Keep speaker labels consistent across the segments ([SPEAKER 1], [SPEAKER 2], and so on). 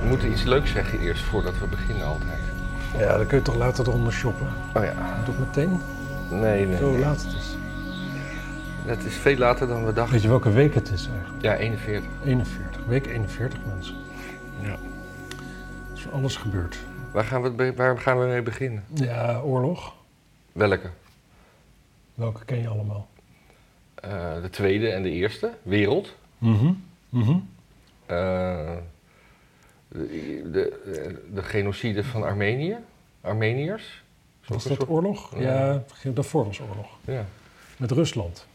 [SPEAKER 1] We moeten iets leuks zeggen eerst voordat we beginnen altijd.
[SPEAKER 2] Ja, dan kun je toch later eronder shoppen.
[SPEAKER 1] Oh ja.
[SPEAKER 2] Doe het meteen,
[SPEAKER 1] Nee, nee.
[SPEAKER 2] zo
[SPEAKER 1] nee.
[SPEAKER 2] laat het is.
[SPEAKER 1] Dat is veel later dan we dachten.
[SPEAKER 2] Weet je welke week het is eigenlijk?
[SPEAKER 1] Ja, 41.
[SPEAKER 2] 41. Week 41 mensen.
[SPEAKER 1] Ja.
[SPEAKER 2] Er is van alles gebeurd.
[SPEAKER 1] Waar gaan, we, het be- waar gaan we mee beginnen?
[SPEAKER 2] Ja, oorlog.
[SPEAKER 1] Welke?
[SPEAKER 2] Welke ken je allemaal?
[SPEAKER 1] Eh, de tweede en de eerste? Wereld?
[SPEAKER 2] Mhm. Mhm.
[SPEAKER 1] Eh, de, de, de genocide van Armenië? Armeniërs? Is
[SPEAKER 2] Was
[SPEAKER 1] ook een
[SPEAKER 2] dat
[SPEAKER 1] soort-
[SPEAKER 2] oorlog?
[SPEAKER 1] Ja.
[SPEAKER 2] Ja, daarvoor was oorlog.
[SPEAKER 1] Ja.
[SPEAKER 2] Met Rusland.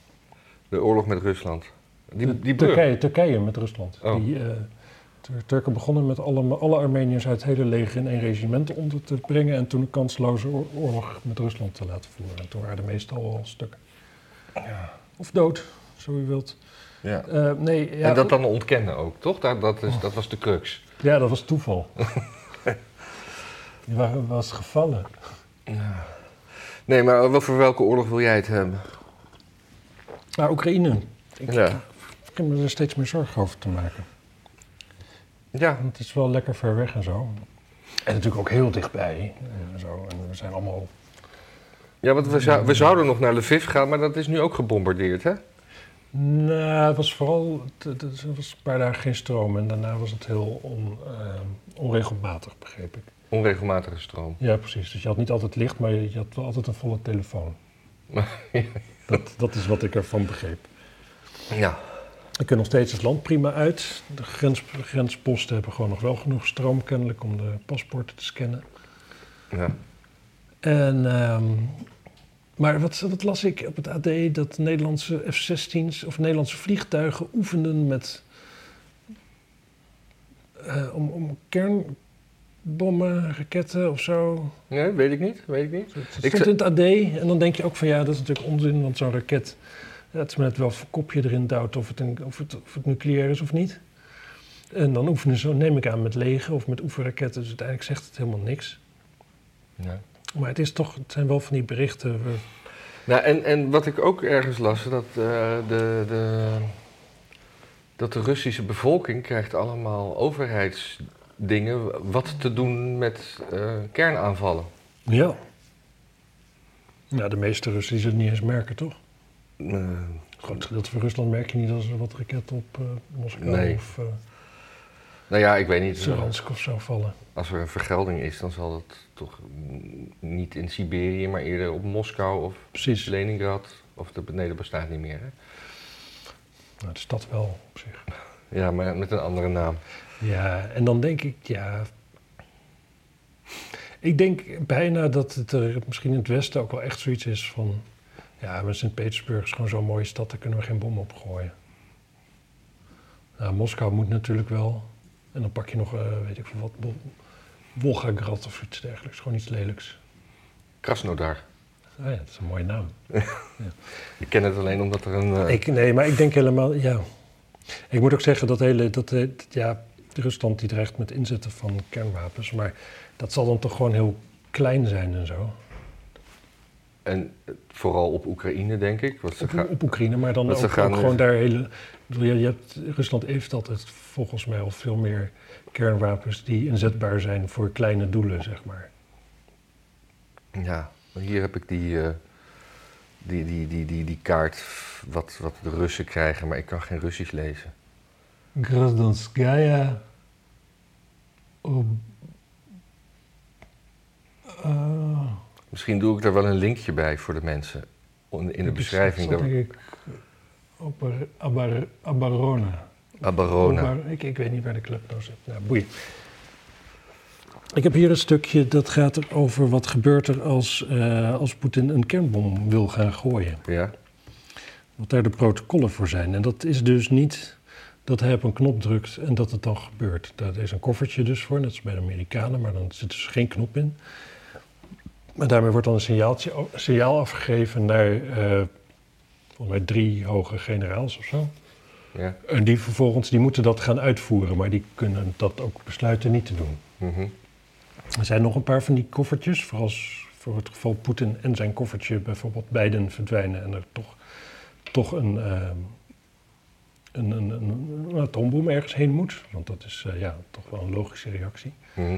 [SPEAKER 1] De oorlog met Rusland. Die, die brug.
[SPEAKER 2] Turkije, Turkije met Rusland.
[SPEAKER 1] Oh.
[SPEAKER 2] Die, eh, Tur- Turken begonnen met alle, alle Armeniërs uit het hele leger in één regiment onder te brengen. En toen een kansloze oor- oorlog met Rusland te laten voeren. En toen waren de meesten al wel stuk. Of dood, zo u wilt.
[SPEAKER 1] Ja.
[SPEAKER 2] Eh, nee, ja, Oh.
[SPEAKER 1] en dat dan ontkennen ook, toch? Dat, dat, is, dat was de crux.
[SPEAKER 2] ja, dat was toeval. Die waren, was gevallen.
[SPEAKER 1] Nee, maar over welke oorlog wil jij het hebben?
[SPEAKER 2] Maar Oekraïne,
[SPEAKER 1] Ja.
[SPEAKER 2] ik begin me er steeds meer zorgen over te maken.
[SPEAKER 1] Ja,
[SPEAKER 2] Het is wel lekker ver weg en zo. En natuurlijk ook heel dichtbij. En, zo. en we zijn allemaal
[SPEAKER 1] ja want we, zou- we zouden nog naar Lviv gaan, maar dat is nu ook gebombardeerd, hè?
[SPEAKER 2] Nou, het was vooral. het- het- het- Er was een paar dagen geen stroom en daarna was het heel on, eh, onregelmatig, begreep ik.
[SPEAKER 1] Onregelmatige stroom.
[SPEAKER 2] Ja, precies. Dus je had niet altijd licht, maar je, je had wel altijd een volle telefoon. Dat, dat is wat ik ervan begreep.
[SPEAKER 1] ja.
[SPEAKER 2] We kunnen nog steeds het land prima uit. De grens, grensposten hebben gewoon nog wel genoeg stroom, kennelijk, om de paspoorten te scannen.
[SPEAKER 1] ja.
[SPEAKER 2] En, ehm, maar wat, wat las ik op het AD? Dat Nederlandse F-16's of Nederlandse vliegtuigen oefenden met. eh, om, om kernbommen, raketten of zo.
[SPEAKER 1] Nee, weet ik niet, weet ik niet.
[SPEAKER 2] Het stond
[SPEAKER 1] Ik
[SPEAKER 2] in
[SPEAKER 1] zou-
[SPEAKER 2] het AD en dan denk je ook van ja, dat is natuurlijk onzin, want zo'n raket. ja, het is maar net wel een kopje erin duwt of het, een, of, het, of het nucleair is of niet. En dan oefenen ze, neem ik aan, met lege of met oefenraketten. Dus uiteindelijk zegt het helemaal niks.
[SPEAKER 1] Ja.
[SPEAKER 2] Maar het, is toch, het zijn wel van die berichten. waar-
[SPEAKER 1] Nou, en, en wat ik ook ergens las, dat, eh, de, de, dat de Russische bevolking krijgt allemaal overheidsdingen wat te doen met eh, kernaanvallen.
[SPEAKER 2] Ja. Nou, de meeste Russen die zullen het niet eens merken, toch?
[SPEAKER 1] Eh,
[SPEAKER 2] Het grootste gedeelte van Rusland merk je niet als er wat raketten op eh, Moskou
[SPEAKER 1] Nee.
[SPEAKER 2] of eh
[SPEAKER 1] nou ja, ik weet niet.
[SPEAKER 2] Saransk of zo vallen.
[SPEAKER 1] Als er een vergelding is, dan zal dat toch mm, niet in Siberië, maar eerder op Moskou of
[SPEAKER 2] Precies. Nou,
[SPEAKER 1] Leningrad. Of de, nee, dat bestaat niet meer. Hè?
[SPEAKER 2] Nou, de stad wel op zich.
[SPEAKER 1] Ja, maar met een andere naam.
[SPEAKER 2] Ja, en dan denk ik, ja... Ik denk bijna dat het er misschien in het Westen ook wel echt zoiets is van... Ja, maar Sint-Petersburg is gewoon zo'n mooie stad, daar kunnen we geen bom op gooien. Nou, Moskou moet natuurlijk wel. En dan pak je nog, eh, weet ik veel wat, Bol- Volgograd of iets dergelijks. Gewoon iets lelijks.
[SPEAKER 1] Krasnodar.
[SPEAKER 2] Ah ja, dat is een mooie naam.
[SPEAKER 1] Ik ken het alleen omdat er een... eh,
[SPEAKER 2] Ik, nee, maar ik denk helemaal, ja. Ik moet ook zeggen dat hele, dat, eh, dat- ja, Rusland die dreigt met inzetten van kernwapens. Maar dat zal dan toch gewoon heel klein zijn en zo.
[SPEAKER 1] En eh, vooral op Oekraïne, denk ik. Want ze
[SPEAKER 2] Op,
[SPEAKER 1] gaan,
[SPEAKER 2] op Oekraïne, maar dan
[SPEAKER 1] dat
[SPEAKER 2] ook,
[SPEAKER 1] ze gaan
[SPEAKER 2] ook gewoon daar hele... ik bedoel, Je, je hebt, Rusland heeft altijd volgens mij al veel meer kernwapens die inzetbaar zijn voor kleine doelen, zeg maar.
[SPEAKER 1] ja, hier heb ik die, eh, die, die, die, die, die kaart f- wat, wat de Russen krijgen, maar ik kan geen Russisch lezen.
[SPEAKER 2] Grasdanskaya. Ob... Ah.
[SPEAKER 1] Misschien doe ik daar wel een linkje bij voor de mensen. On- In de beschrijving.
[SPEAKER 2] Dat
[SPEAKER 1] daar-
[SPEAKER 2] denk ik. Oper, Abar, Abarona.
[SPEAKER 1] Abarona.
[SPEAKER 2] Obar- ik, ik weet niet waar de club nou zit. Nou, boeien. Ik heb hier een stukje dat gaat er over wat gebeurt er als, eh, als Poetin een kernbom wil gaan gooien.
[SPEAKER 1] Ja,
[SPEAKER 2] Wat daar de protocollen voor zijn. En dat is dus niet dat hij op een knop drukt en dat het dan gebeurt. Daar is een koffertje dus voor, net als bij de Amerikanen, maar dan zit dus geen knop in. Maar daarmee wordt dan een signaaltje, een signaal afgegeven naar eh, volgens mij drie hoge generaals of zo.
[SPEAKER 1] ja.
[SPEAKER 2] En die vervolgens die moeten dat gaan uitvoeren, maar die kunnen dat ook besluiten niet te doen.
[SPEAKER 1] mhm.
[SPEAKER 2] Er zijn nog een paar van die koffertjes, voor, als, voor het geval Poetin en zijn koffertje bijvoorbeeld beiden verdwijnen en er toch, toch een, eh, ehm, een, een, een, een atoombom ergens heen moet. Want dat is eh, ja, toch wel een logische reactie.
[SPEAKER 1] Mhm.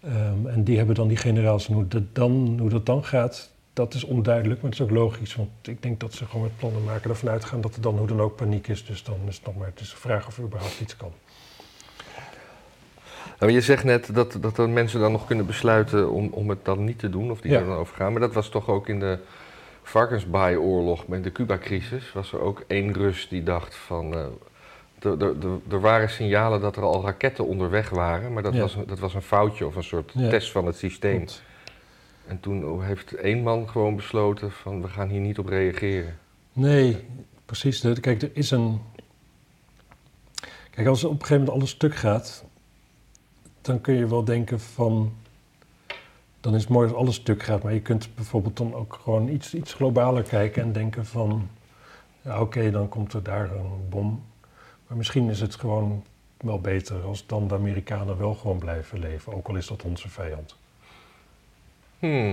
[SPEAKER 2] Ehm, en die hebben dan die generaals. En hoe dat, dan, hoe dat dan gaat, dat is onduidelijk. Maar het is ook logisch. Want ik denk dat ze gewoon met plannen maken ervan uitgaan dat er dan hoe dan ook paniek is. Dus dan is het nog maar het is de vraag of er überhaupt iets kan.
[SPEAKER 1] Nou, je zegt net dat, dat er mensen dan nog kunnen besluiten om, om het dan niet te doen of die
[SPEAKER 2] Ja.
[SPEAKER 1] er dan over gaan. Maar dat was toch ook in de varkensbaai-oorlog met de Cuba-crisis. Was er ook één Rus die dacht van... eh, er- er- er- er waren signalen dat er al raketten onderweg waren, maar dat,
[SPEAKER 2] Ja.
[SPEAKER 1] was, een- dat was een foutje of een soort
[SPEAKER 2] Ja.
[SPEAKER 1] test van het systeem.
[SPEAKER 2] Want-
[SPEAKER 1] En toen heeft één man gewoon besloten van we gaan hier niet op reageren.
[SPEAKER 2] Nee, precies. De- Kijk, er is een. Kijk, als op een gegeven moment alles stuk gaat, dan kun je wel denken van. Dan is het mooi als alles stuk gaat, maar je kunt bijvoorbeeld dan ook gewoon iets, iets globaler kijken en denken van. Ja, oké, dan komt er daar een bom. Maar misschien is het gewoon wel beter als dan de Amerikanen wel gewoon blijven leven, ook al is dat onze vijand.
[SPEAKER 1] Hmm.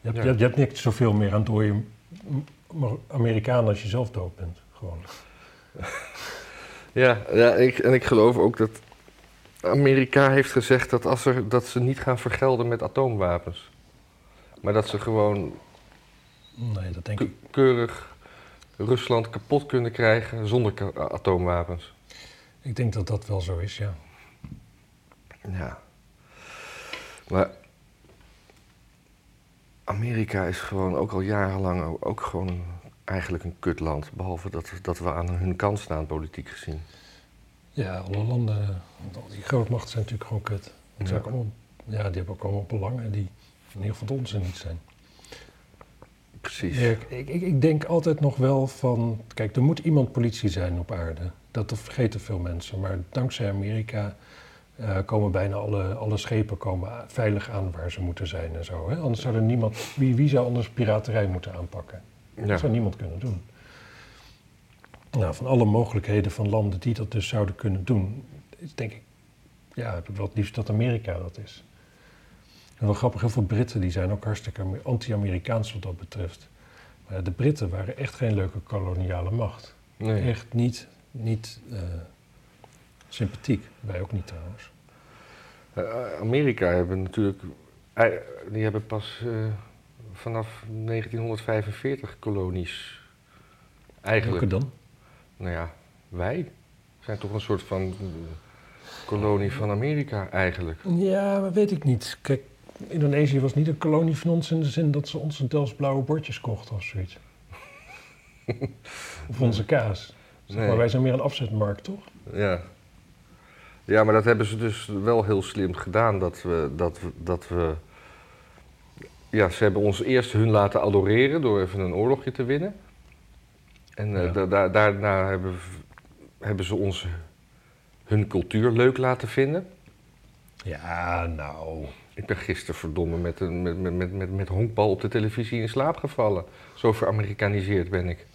[SPEAKER 2] Je hebt,
[SPEAKER 1] Ja.
[SPEAKER 2] je hebt, je hebt niks zoveel meer aan dode M- M- Amerikanen als je zelf dood bent. Gewoon.
[SPEAKER 1] Ja, ja ik, en ik geloof ook dat Amerika heeft gezegd dat, als er, dat ze niet gaan vergelden met atoomwapens. Maar dat ze gewoon
[SPEAKER 2] Nee, dat denk
[SPEAKER 1] ke-
[SPEAKER 2] ik.
[SPEAKER 1] keurig Rusland kapot kunnen krijgen zonder ka- a- atoomwapens.
[SPEAKER 2] Ik denk dat dat wel zo is, ja.
[SPEAKER 1] Ja. Maar Amerika is gewoon ook al jarenlang o- ook gewoon eigenlijk een kutland. Behalve dat, dat we aan hun kant staan, politiek gezien.
[SPEAKER 2] Ja, alle landen, want al die grootmachten zijn natuurlijk gewoon kut.
[SPEAKER 1] Ja.
[SPEAKER 2] Ja. Allemaal, ja, die hebben ook allemaal belangen die in ieder geval de onze niet zijn.
[SPEAKER 1] Precies.
[SPEAKER 2] Ja, ik, ik, ik denk altijd nog wel van, kijk, er moet iemand politie zijn op aarde. Dat vergeten veel mensen, maar dankzij Amerika eh, komen bijna alle, alle schepen komen a- veilig aan waar ze moeten zijn en zo. Hè? Anders zou er niemand, wie, wie zou anders piraterij moeten aanpakken?
[SPEAKER 1] Ja.
[SPEAKER 2] Dat zou niemand kunnen doen. Nou, van alle mogelijkheden van landen die dat dus zouden kunnen doen, is denk ik, ja, heb ik wel het liefst dat Amerika dat is. En wel grappig, heel veel Britten die zijn ook hartstikke Amer- anti-Amerikaans wat dat betreft. Maar de Britten waren echt geen leuke koloniale macht.
[SPEAKER 1] Nee.
[SPEAKER 2] Echt niet, niet eh, sympathiek. Wij ook niet trouwens.
[SPEAKER 1] Eh, Amerika hebben natuurlijk, eh, die hebben pas eh, vanaf 1945 kolonies. Eigenlijk,
[SPEAKER 2] Welke dan?
[SPEAKER 1] nou ja, wij zijn toch een soort van eh, kolonie van Amerika eigenlijk.
[SPEAKER 2] Ja, maar weet ik niet. Kijk, Indonesië was niet een kolonie van ons in de zin dat ze onze Delfts blauwe bordjes kochten of zoiets. of onze kaas. Zeg maar
[SPEAKER 1] Nee.
[SPEAKER 2] wij zijn meer een afzetmarkt, toch?
[SPEAKER 1] Ja. ja, maar dat hebben ze dus wel heel slim gedaan. Dat we, dat, we- dat we. Ja, ze hebben ons eerst hun laten adoreren door even een oorlogje te winnen. En eh,
[SPEAKER 2] Ja.
[SPEAKER 1] da- da- daarna hebben, we- hebben ze ons hun cultuur leuk laten vinden.
[SPEAKER 2] Ja, nou.
[SPEAKER 1] Ik ben gisteren verdomme met, een, met, met, met, met, met honkbal op de televisie in slaap gevallen. Zo veramerikaniseerd ben ik.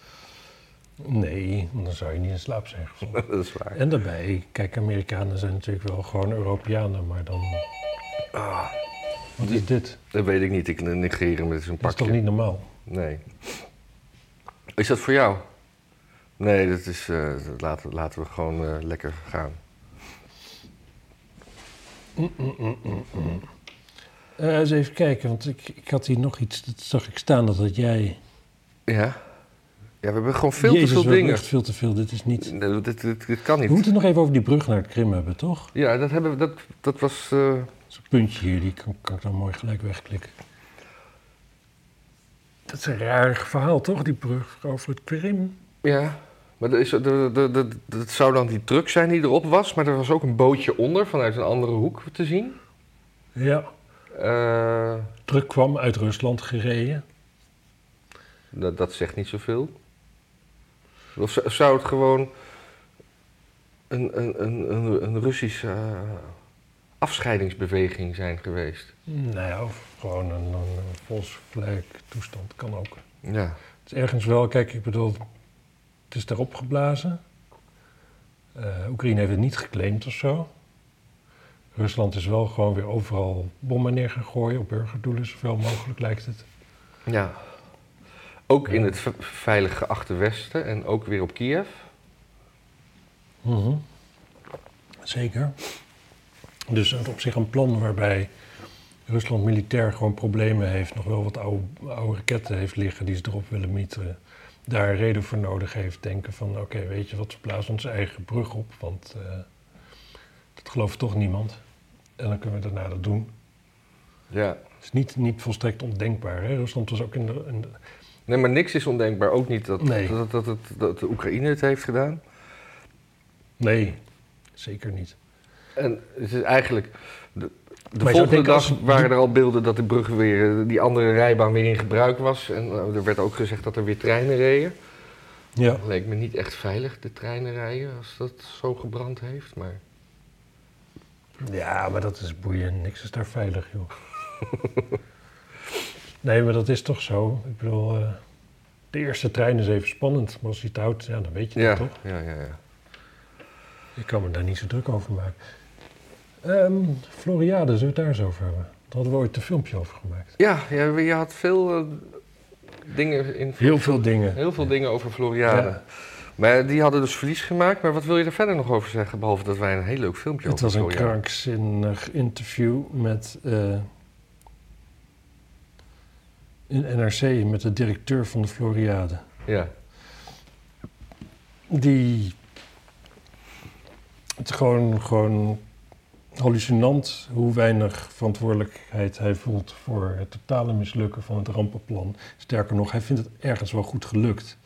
[SPEAKER 2] Nee, dan zou je niet in slaap zijn gevallen.
[SPEAKER 1] dat is waar.
[SPEAKER 2] En daarbij, kijk, Amerikanen zijn natuurlijk wel gewoon Europeanen, maar dan. Ah, Wat is dit?
[SPEAKER 1] Dat weet ik niet. Ik negeer hem. Het is een
[SPEAKER 2] Dat is
[SPEAKER 1] pakje.
[SPEAKER 2] toch niet normaal?
[SPEAKER 1] Nee. Is dat voor jou? Nee, dat is. eh, dat laten, laten we gewoon eh, lekker gaan.
[SPEAKER 2] Eh, eens even kijken, want ik, ik had hier nog iets. Dat zag ik staan dat had jij.
[SPEAKER 1] Ja? Ja, we hebben gewoon veel
[SPEAKER 2] Jezus,
[SPEAKER 1] te
[SPEAKER 2] we
[SPEAKER 1] veel
[SPEAKER 2] hebben
[SPEAKER 1] dingen.
[SPEAKER 2] Echt veel te veel. Dit is niet.
[SPEAKER 1] Nee, Dit, dit, dit kan
[SPEAKER 2] We
[SPEAKER 1] niet.
[SPEAKER 2] moeten het nog even over die brug naar het Krim hebben, toch?
[SPEAKER 1] Ja, dat, hebben we, dat, dat was. eh,
[SPEAKER 2] Dat is een puntje hier, die kan, kan ik dan mooi gelijk wegklikken. Dat is een raar verhaal, toch? Die brug over het Krim.
[SPEAKER 1] ja. Maar er is, er- er- er- er- dat zou dan die truck zijn die erop was. Maar er was ook een bootje onder vanuit een andere hoek te zien.
[SPEAKER 2] Ja.
[SPEAKER 1] Eh,
[SPEAKER 2] Truck kwam uit Rusland gereden.
[SPEAKER 1] dat, dat zegt niet zoveel. Of zo- zou het gewoon een, een, een, een, een Russische eh, afscheidingsbeweging zijn geweest?
[SPEAKER 2] Nou ja, of gewoon een, een, een volksvlek toestand kan ook.
[SPEAKER 1] Ja.
[SPEAKER 2] Het is ergens wel, kijk, ik bedoel, het is daarop geblazen. Eh, Oekraïne heeft het niet geclaimd of zo. Rusland is wel gewoon weer overal bommen neer gaan gooien op burgerdoelen, zoveel mogelijk lijkt het.
[SPEAKER 1] ja. Ook in het v- veilig geachte Westen en ook weer op Kiev.
[SPEAKER 2] Mhm. Zeker. Dus het op zich een plan waarbij Rusland militair gewoon problemen heeft, nog wel wat oude, oude raketten heeft liggen die ze erop willen mieteren. Daar een reden voor nodig heeft, denken van oké, weet je wat, we plaatsen onze eigen brug op, want eh, dat gelooft toch niemand. En dan kunnen we daarna dat doen.
[SPEAKER 1] Ja.
[SPEAKER 2] Het is niet, niet volstrekt ondenkbaar. Hè? Rusland was ook in de, in de-
[SPEAKER 1] Nee, maar niks is ondenkbaar. Ook niet dat,
[SPEAKER 2] Nee.
[SPEAKER 1] dat, dat, dat, dat de Oekraïne het heeft gedaan.
[SPEAKER 2] Nee, zeker niet.
[SPEAKER 1] En het is eigenlijk... De, de
[SPEAKER 2] zou
[SPEAKER 1] volgende
[SPEAKER 2] denken
[SPEAKER 1] dag
[SPEAKER 2] als-
[SPEAKER 1] waren er al beelden dat de brug weer... eh, die andere rijbaan weer in gebruik was. En eh, er werd ook gezegd dat er weer treinen reden.
[SPEAKER 2] Ja.
[SPEAKER 1] Leek me niet echt veilig, de treinen rijden, als dat zo gebrand heeft. Maar
[SPEAKER 2] Ja, maar dat is boeiend. Niks is daar veilig, joh. nee, maar dat is toch zo. Ik bedoel, eh, de eerste trein is even spannend. Maar als hij het houdt, ja, dan weet je
[SPEAKER 1] ja,
[SPEAKER 2] dat toch?
[SPEAKER 1] ja, ja, ja.
[SPEAKER 2] Ik kan me daar niet zo druk over maken. Ehm Floriade, zullen we het daar eens over hebben? Daar hadden we ooit een filmpje over gemaakt.
[SPEAKER 1] Ja, ja, je had veel eh, dingen in...
[SPEAKER 2] Heel veel dingen.
[SPEAKER 1] Heel veel dingen over Floriade.
[SPEAKER 2] Ja.
[SPEAKER 1] Maar die hadden dus verlies gemaakt. Maar wat wil je er verder nog over zeggen? Behalve dat wij een heel leuk filmpje
[SPEAKER 2] Het
[SPEAKER 1] over
[SPEAKER 2] was een
[SPEAKER 1] Floriade-
[SPEAKER 2] krankzinnig interview met eh, een NRC, met de directeur van de Floriade.
[SPEAKER 1] Ja,
[SPEAKER 2] die het gewoon, gewoon hallucinant hoe weinig verantwoordelijkheid hij voelt voor het totale mislukken van het rampenplan. Sterker nog, hij vindt het ergens wel goed gelukt.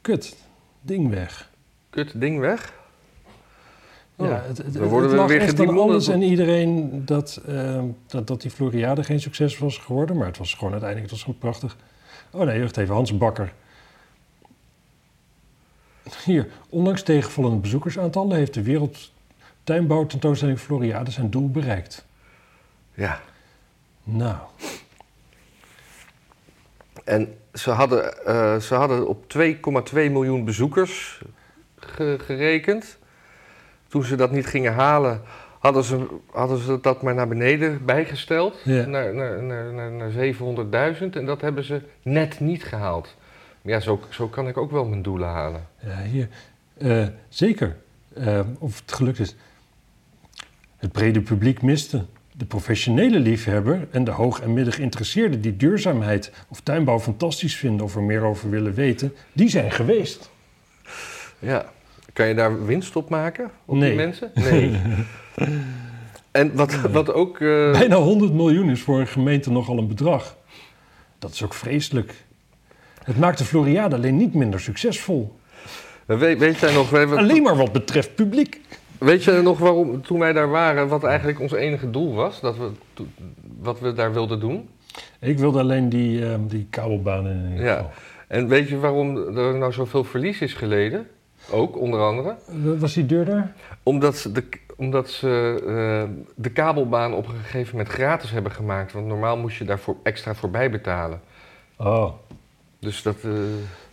[SPEAKER 2] Kut, ding weg.
[SPEAKER 1] kut ding weg. Oh,
[SPEAKER 2] ja, het, het,
[SPEAKER 1] dan worden
[SPEAKER 2] het
[SPEAKER 1] we
[SPEAKER 2] lag
[SPEAKER 1] weer
[SPEAKER 2] echt aan
[SPEAKER 1] gediemonden.
[SPEAKER 2] alles en iedereen dat, eh, dat, dat die Floriade geen succes was geworden. Maar het was gewoon uiteindelijk, het was gewoon prachtig. Oh nee, wacht even, Hans Bakker. Hier, ondanks tegenvallende bezoekersaantallen heeft de wereldtuinbouwtentoonstelling Floriade zijn doel bereikt.
[SPEAKER 1] Ja.
[SPEAKER 2] Nou,
[SPEAKER 1] En ze hadden, eh, ze hadden op 2,2 miljoen bezoekers ge- gerekend. Toen ze dat niet gingen halen, hadden ze, hadden ze dat maar naar beneden bijgesteld.
[SPEAKER 2] Ja.
[SPEAKER 1] Naar, naar, naar, naar, naar 700.000. En dat hebben ze net niet gehaald. Ja, zo, zo kan ik ook wel mijn doelen halen.
[SPEAKER 2] ja, hier. Eh, zeker, eh, of het gelukt is. Het brede publiek miste. De professionele liefhebber en de hoog- en midden geïnteresseerden die duurzaamheid of tuinbouw fantastisch vinden of er meer over willen weten, die zijn geweest.
[SPEAKER 1] Ja. Kan je daar winst op maken? Op
[SPEAKER 2] Nee.
[SPEAKER 1] die mensen? Nee. en wat, wat ook. eh,
[SPEAKER 2] Bijna 100 miljoen is voor een gemeente nogal een bedrag. Dat is ook vreselijk. Het maakt de Floriade alleen niet minder succesvol.
[SPEAKER 1] weet, weet jij nog. Weet,
[SPEAKER 2] Alleen maar wat betreft publiek.
[SPEAKER 1] weet je nog waarom. Toen wij daar waren, wat eigenlijk ons enige doel was? Dat we, to- wat we daar wilden doen?
[SPEAKER 2] Ik wilde alleen die, ehm, die kabelbaan in ieder
[SPEAKER 1] Ja.
[SPEAKER 2] geval.
[SPEAKER 1] En weet je waarom er nou zoveel verlies is geleden? Ook onder andere.
[SPEAKER 2] Wa- Was die duurder?
[SPEAKER 1] Omdat ze, de, omdat ze eh, de kabelbaan op een gegeven moment gratis hebben gemaakt. Want normaal moest je daarvoor extra voorbij betalen.
[SPEAKER 2] Oh.
[SPEAKER 1] Dus dat. eh,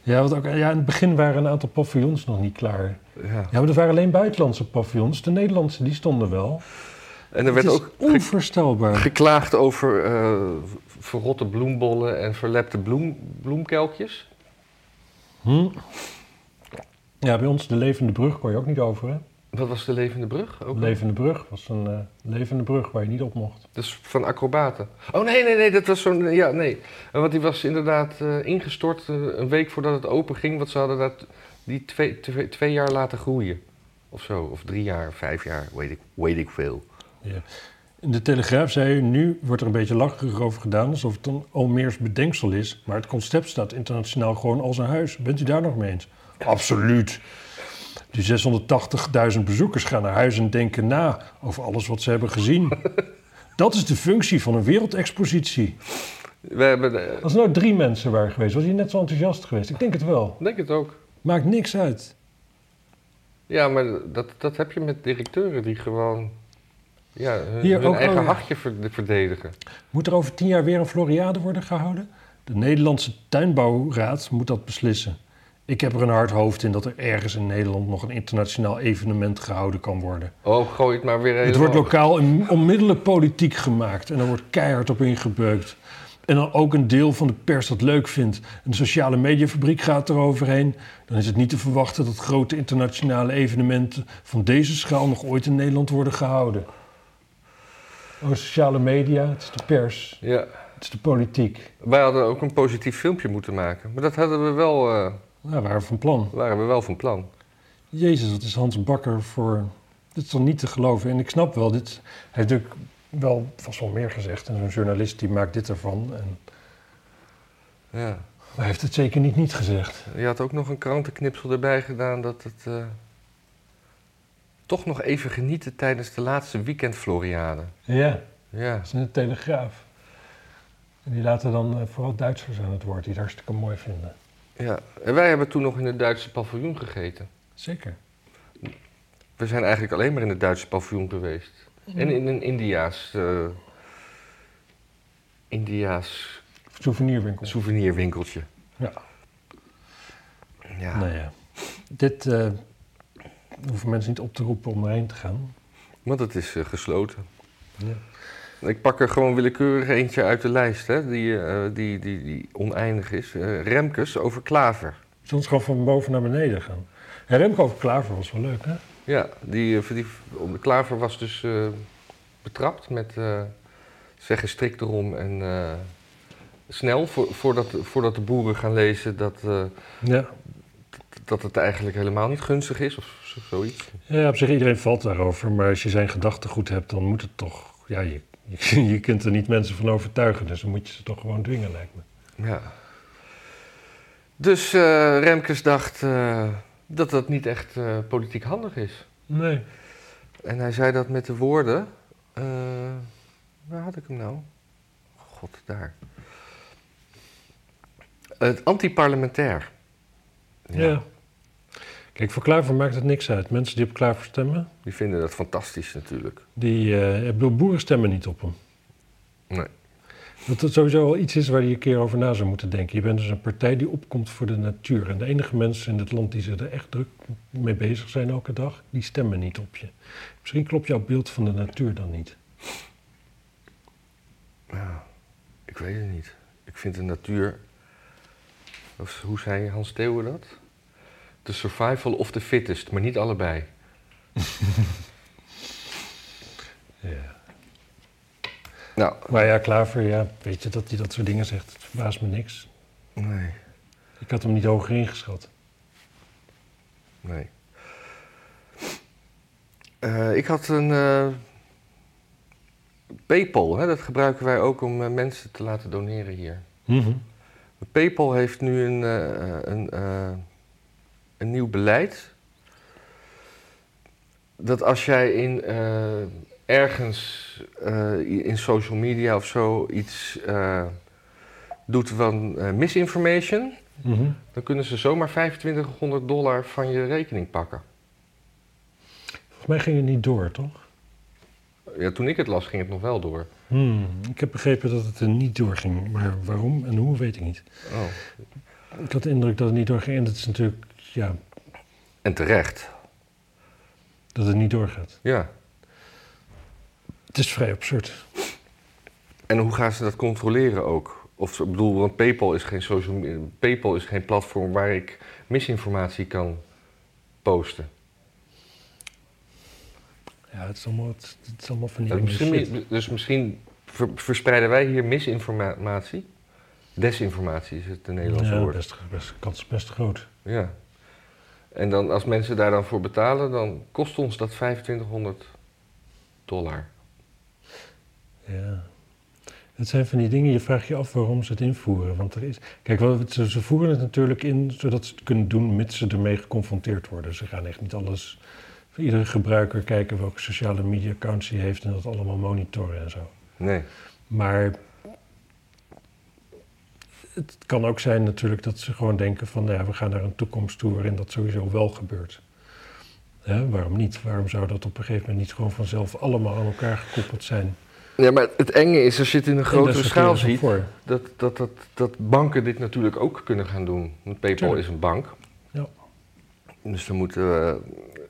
[SPEAKER 2] Ja, want ook, ja, in het begin waren een aantal paviljoens nog niet klaar.
[SPEAKER 1] ja.
[SPEAKER 2] Ja, maar er waren alleen buitenlandse paviljoens. De Nederlandse, die stonden wel.
[SPEAKER 1] En er werd
[SPEAKER 2] het is
[SPEAKER 1] ook ge-
[SPEAKER 2] onvoorstelbaar.
[SPEAKER 1] geklaagd over eh, verrotte bloembollen en verlepte bloem, bloemkelkjes.
[SPEAKER 2] Hm. Ja, bij ons de Levende Brug kon je ook niet over, hè?
[SPEAKER 1] Wat was de levende brug? Ook
[SPEAKER 2] Levende Brug was een eh, levende brug waar je niet op mocht.
[SPEAKER 1] Dus van acrobaten. Oh nee, nee, nee, dat was zo'n. Ja, nee. Eh, Want die was inderdaad eh, ingestort eh, een week voordat het open ging. Want ze hadden dat die twee, twee, twee jaar laten groeien. Of zo, of drie jaar, vijf jaar, weet ik, weet ik veel.
[SPEAKER 2] Ja. In de Telegraaf zei u, nu wordt er een beetje lacherig over gedaan, alsof het een Almeers bedenksel is. Maar het concept staat internationaal gewoon als een huis. Bent u daar nog mee eens? Absoluut. Die 680.000 bezoekers gaan naar huis en denken na over alles wat ze hebben gezien. Dat is de functie van een wereldexpositie.
[SPEAKER 1] We hebben. eh,
[SPEAKER 2] Als er nou drie mensen waren geweest, was je net zo enthousiast geweest. Ik denk het wel.
[SPEAKER 1] ik denk het ook.
[SPEAKER 2] Maakt niks uit.
[SPEAKER 1] Ja, maar dat, dat heb je met directeuren die gewoon. Ja, hun,
[SPEAKER 2] Hier
[SPEAKER 1] hun
[SPEAKER 2] ook-
[SPEAKER 1] eigen
[SPEAKER 2] oh, ja.
[SPEAKER 1] hachje ver- verdedigen.
[SPEAKER 2] Moet er over tien jaar weer een Floriade worden gehouden? De Nederlandse Tuinbouwraad moet dat beslissen. Ik heb er een hard hoofd in dat er ergens in Nederland nog een internationaal evenement gehouden kan worden.
[SPEAKER 1] Oh, gooi het maar weer helemaal.
[SPEAKER 2] Het wordt lokaal in- onmiddellijk politiek gemaakt en er wordt keihard op ingebeukt. En dan ook een deel van de pers dat leuk vindt. En de sociale mediafabriek gaat eroverheen. Dan is het niet te verwachten dat grote internationale evenementen van deze schaal nog ooit in Nederland worden gehouden. Oh, sociale media, het is de pers,
[SPEAKER 1] Ja.
[SPEAKER 2] het is de politiek.
[SPEAKER 1] Wij hadden ook een positief filmpje moeten maken. Maar dat hadden we wel, eh,
[SPEAKER 2] Nou, waar van plan.
[SPEAKER 1] waren we wel van plan.
[SPEAKER 2] Jezus, wat is Hans Bakker voor. Dit is toch niet te geloven. En ik snap wel, dit hij heeft natuurlijk wel vast wel meer gezegd. En zo'n journalist die maakt dit ervan. En,
[SPEAKER 1] Ja.
[SPEAKER 2] maar hij heeft het zeker niet niet gezegd.
[SPEAKER 1] Je had ook nog een krantenknipsel erbij gedaan dat het. eh, toch nog even genieten tijdens de laatste weekend Floriade.
[SPEAKER 2] Ja,
[SPEAKER 1] Ja.
[SPEAKER 2] dat is een telegraaf. En die laten dan eh, vooral Duitsers aan het woord, die het hartstikke mooi vinden.
[SPEAKER 1] ja. En wij hebben toen nog in het Duitse paviljoen gegeten.
[SPEAKER 2] Zeker.
[SPEAKER 1] We zijn eigenlijk alleen maar in het Duitse paviljoen geweest. En in een Indiaas. eh, Indiaas
[SPEAKER 2] Souvenirwinkel.
[SPEAKER 1] souvenirwinkeltje.
[SPEAKER 2] Ja.
[SPEAKER 1] Ja.
[SPEAKER 2] Nou ja. Dit eh, hoeven mensen niet op te roepen om erheen te gaan.
[SPEAKER 1] Want het is eh, gesloten.
[SPEAKER 2] Ja.
[SPEAKER 1] Ik pak er gewoon willekeurig eentje uit de lijst, hè, die, eh, die, die, die oneindig is. Eh, Remkes over Klaver.
[SPEAKER 2] Soms gewoon van boven naar beneden gaan. En Remco over Klaver was wel leuk, hè?
[SPEAKER 1] Ja, die, eh, die op de klaver was dus eh, betrapt met eh zeg strikt erom en eh, snel voor, voordat, voordat de boeren gaan lezen dat, eh,
[SPEAKER 2] Ja.
[SPEAKER 1] dat het eigenlijk helemaal niet gunstig is of zo- zoiets.
[SPEAKER 2] Ja, op zich, iedereen valt daarover. Maar als je zijn gedachten goed hebt, dan moet het toch... Ja, je, je, je kunt er niet mensen van overtuigen. Dus dan moet je ze toch gewoon dwingen, lijkt me.
[SPEAKER 1] Ja. Dus eh, Remkes dacht eh, dat dat niet echt eh, politiek handig is.
[SPEAKER 2] Nee.
[SPEAKER 1] En hij zei dat met de woorden. eh, waar had ik hem nou? God, daar. Het antiparlementair.
[SPEAKER 2] Ja. Kijk, voor Klaver maakt het niks uit. Mensen die op Klaver stemmen,
[SPEAKER 1] Die vinden dat fantastisch natuurlijk.
[SPEAKER 2] die... eh, ik bedoel, boeren stemmen niet op hem.
[SPEAKER 1] Nee.
[SPEAKER 2] Dat het sowieso wel iets is waar je een keer over na zou moeten denken. Je bent dus een partij die opkomt voor de natuur. En de enige mensen in dit land die zich er echt druk mee bezig zijn elke dag, die stemmen niet op je. Misschien klopt jouw beeld van de natuur dan niet.
[SPEAKER 1] Ja, ik weet het niet. Ik vind de natuur. Of hoe zei Hans Theeuwen dat? The survival of the fittest, maar niet allebei.
[SPEAKER 2] Ja.
[SPEAKER 1] Nou,
[SPEAKER 2] Maar ja, Klaver, ja, weet je dat hij dat soort dingen zegt? Het verbaast me niks.
[SPEAKER 1] nee.
[SPEAKER 2] Ik had hem niet hoger ingeschat.
[SPEAKER 1] Nee. Eh, ik had een. eh, PayPal, hè, dat gebruiken wij ook om eh, mensen te laten doneren hier.
[SPEAKER 2] Mhm.
[SPEAKER 1] PayPal heeft nu een, eh, eh, een, eh, een nieuw beleid. Dat als jij in, eh, ergens eh, in social media of zo iets eh, doet van eh, misinformation,
[SPEAKER 2] Mhm.
[SPEAKER 1] dan kunnen ze zomaar 2500 dollar van je rekening pakken.
[SPEAKER 2] Volgens mij ging het niet door, toch?
[SPEAKER 1] Ja, toen ik het las, ging het nog wel door.
[SPEAKER 2] Hmm, Ik heb begrepen dat het er niet door ging. Maar waarom en hoe, weet ik niet.
[SPEAKER 1] Oh.
[SPEAKER 2] Ik had de indruk dat het niet doorging. En dat is natuurlijk, ja,
[SPEAKER 1] En terecht.
[SPEAKER 2] dat het niet doorgaat.
[SPEAKER 1] Ja.
[SPEAKER 2] Het is vrij absurd.
[SPEAKER 1] En hoe gaan ze dat controleren ook? Of ze- ik bedoel, want PayPal is geen social me- PayPal is geen platform waar ik misinformatie kan posten.
[SPEAKER 2] Ja, het is allemaal, het, het is allemaal van die
[SPEAKER 1] Dus
[SPEAKER 2] shit.
[SPEAKER 1] misschien, dus misschien ver- verspreiden wij hier misinformatie. Desinformatie is het de Nederlandse
[SPEAKER 2] ja,
[SPEAKER 1] woord.
[SPEAKER 2] best, best, kans is best groot.
[SPEAKER 1] Ja. En dan als mensen daar dan voor betalen, dan kost ons dat 2500 dollar.
[SPEAKER 2] Ja. Het zijn van die dingen, je vraagt je af waarom ze het invoeren. Want er is... Kijk, wat, ze, ze voeren het natuurlijk in zodat ze het kunnen doen, mits ze ermee geconfronteerd worden. Ze gaan echt niet alles... Voor iedere gebruiker kijken welke sociale media accounts hij heeft en dat allemaal monitoren en zo.
[SPEAKER 1] Nee.
[SPEAKER 2] Maar het kan ook zijn natuurlijk dat ze gewoon denken van nou ja, we gaan naar een toekomst toe waarin dat sowieso wel gebeurt. Hè, waarom niet? Waarom zou dat op een gegeven moment niet gewoon vanzelf allemaal aan elkaar gekoppeld zijn?
[SPEAKER 1] Ja, maar het enge is als je het in een
[SPEAKER 2] En
[SPEAKER 1] grotere
[SPEAKER 2] daar
[SPEAKER 1] schaal
[SPEAKER 2] sorteren ze
[SPEAKER 1] ziet,
[SPEAKER 2] Voor.
[SPEAKER 1] dat, dat, dat, dat banken dit natuurlijk ook kunnen gaan doen. Want PayPal
[SPEAKER 2] Tuurlijk.
[SPEAKER 1] is een bank.
[SPEAKER 2] Ja.
[SPEAKER 1] Dus dan moeten we,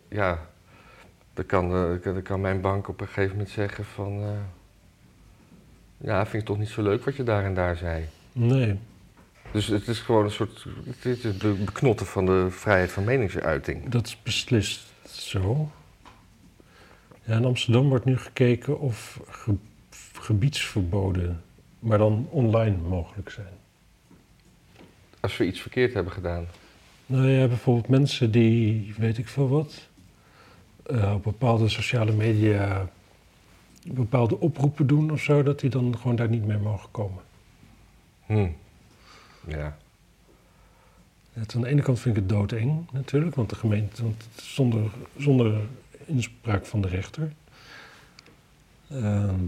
[SPEAKER 1] ja, dan kan, eh, dan kan mijn bank op een gegeven moment zeggen van, eh, ja, vind ik toch niet zo leuk wat je daar en daar zei.
[SPEAKER 2] Nee.
[SPEAKER 1] Dus het is gewoon een soort het is het be- beknotten van de vrijheid van meningsuiting.
[SPEAKER 2] Dat is beslist zo. Ja, in Amsterdam wordt nu gekeken of ge- gebiedsverboden, maar dan online mogelijk zijn.
[SPEAKER 1] Als we iets verkeerd hebben gedaan.
[SPEAKER 2] Nou ja, bijvoorbeeld mensen die, weet ik veel wat, eh, op bepaalde sociale media bepaalde oproepen doen of zo, dat die dan gewoon daar niet mee mogen komen.
[SPEAKER 1] Hm. Ja.
[SPEAKER 2] Het, aan de ene kant vind ik het doodeng natuurlijk, want de gemeente, want het is zonder, zonder inspraak van de rechter. Ehm,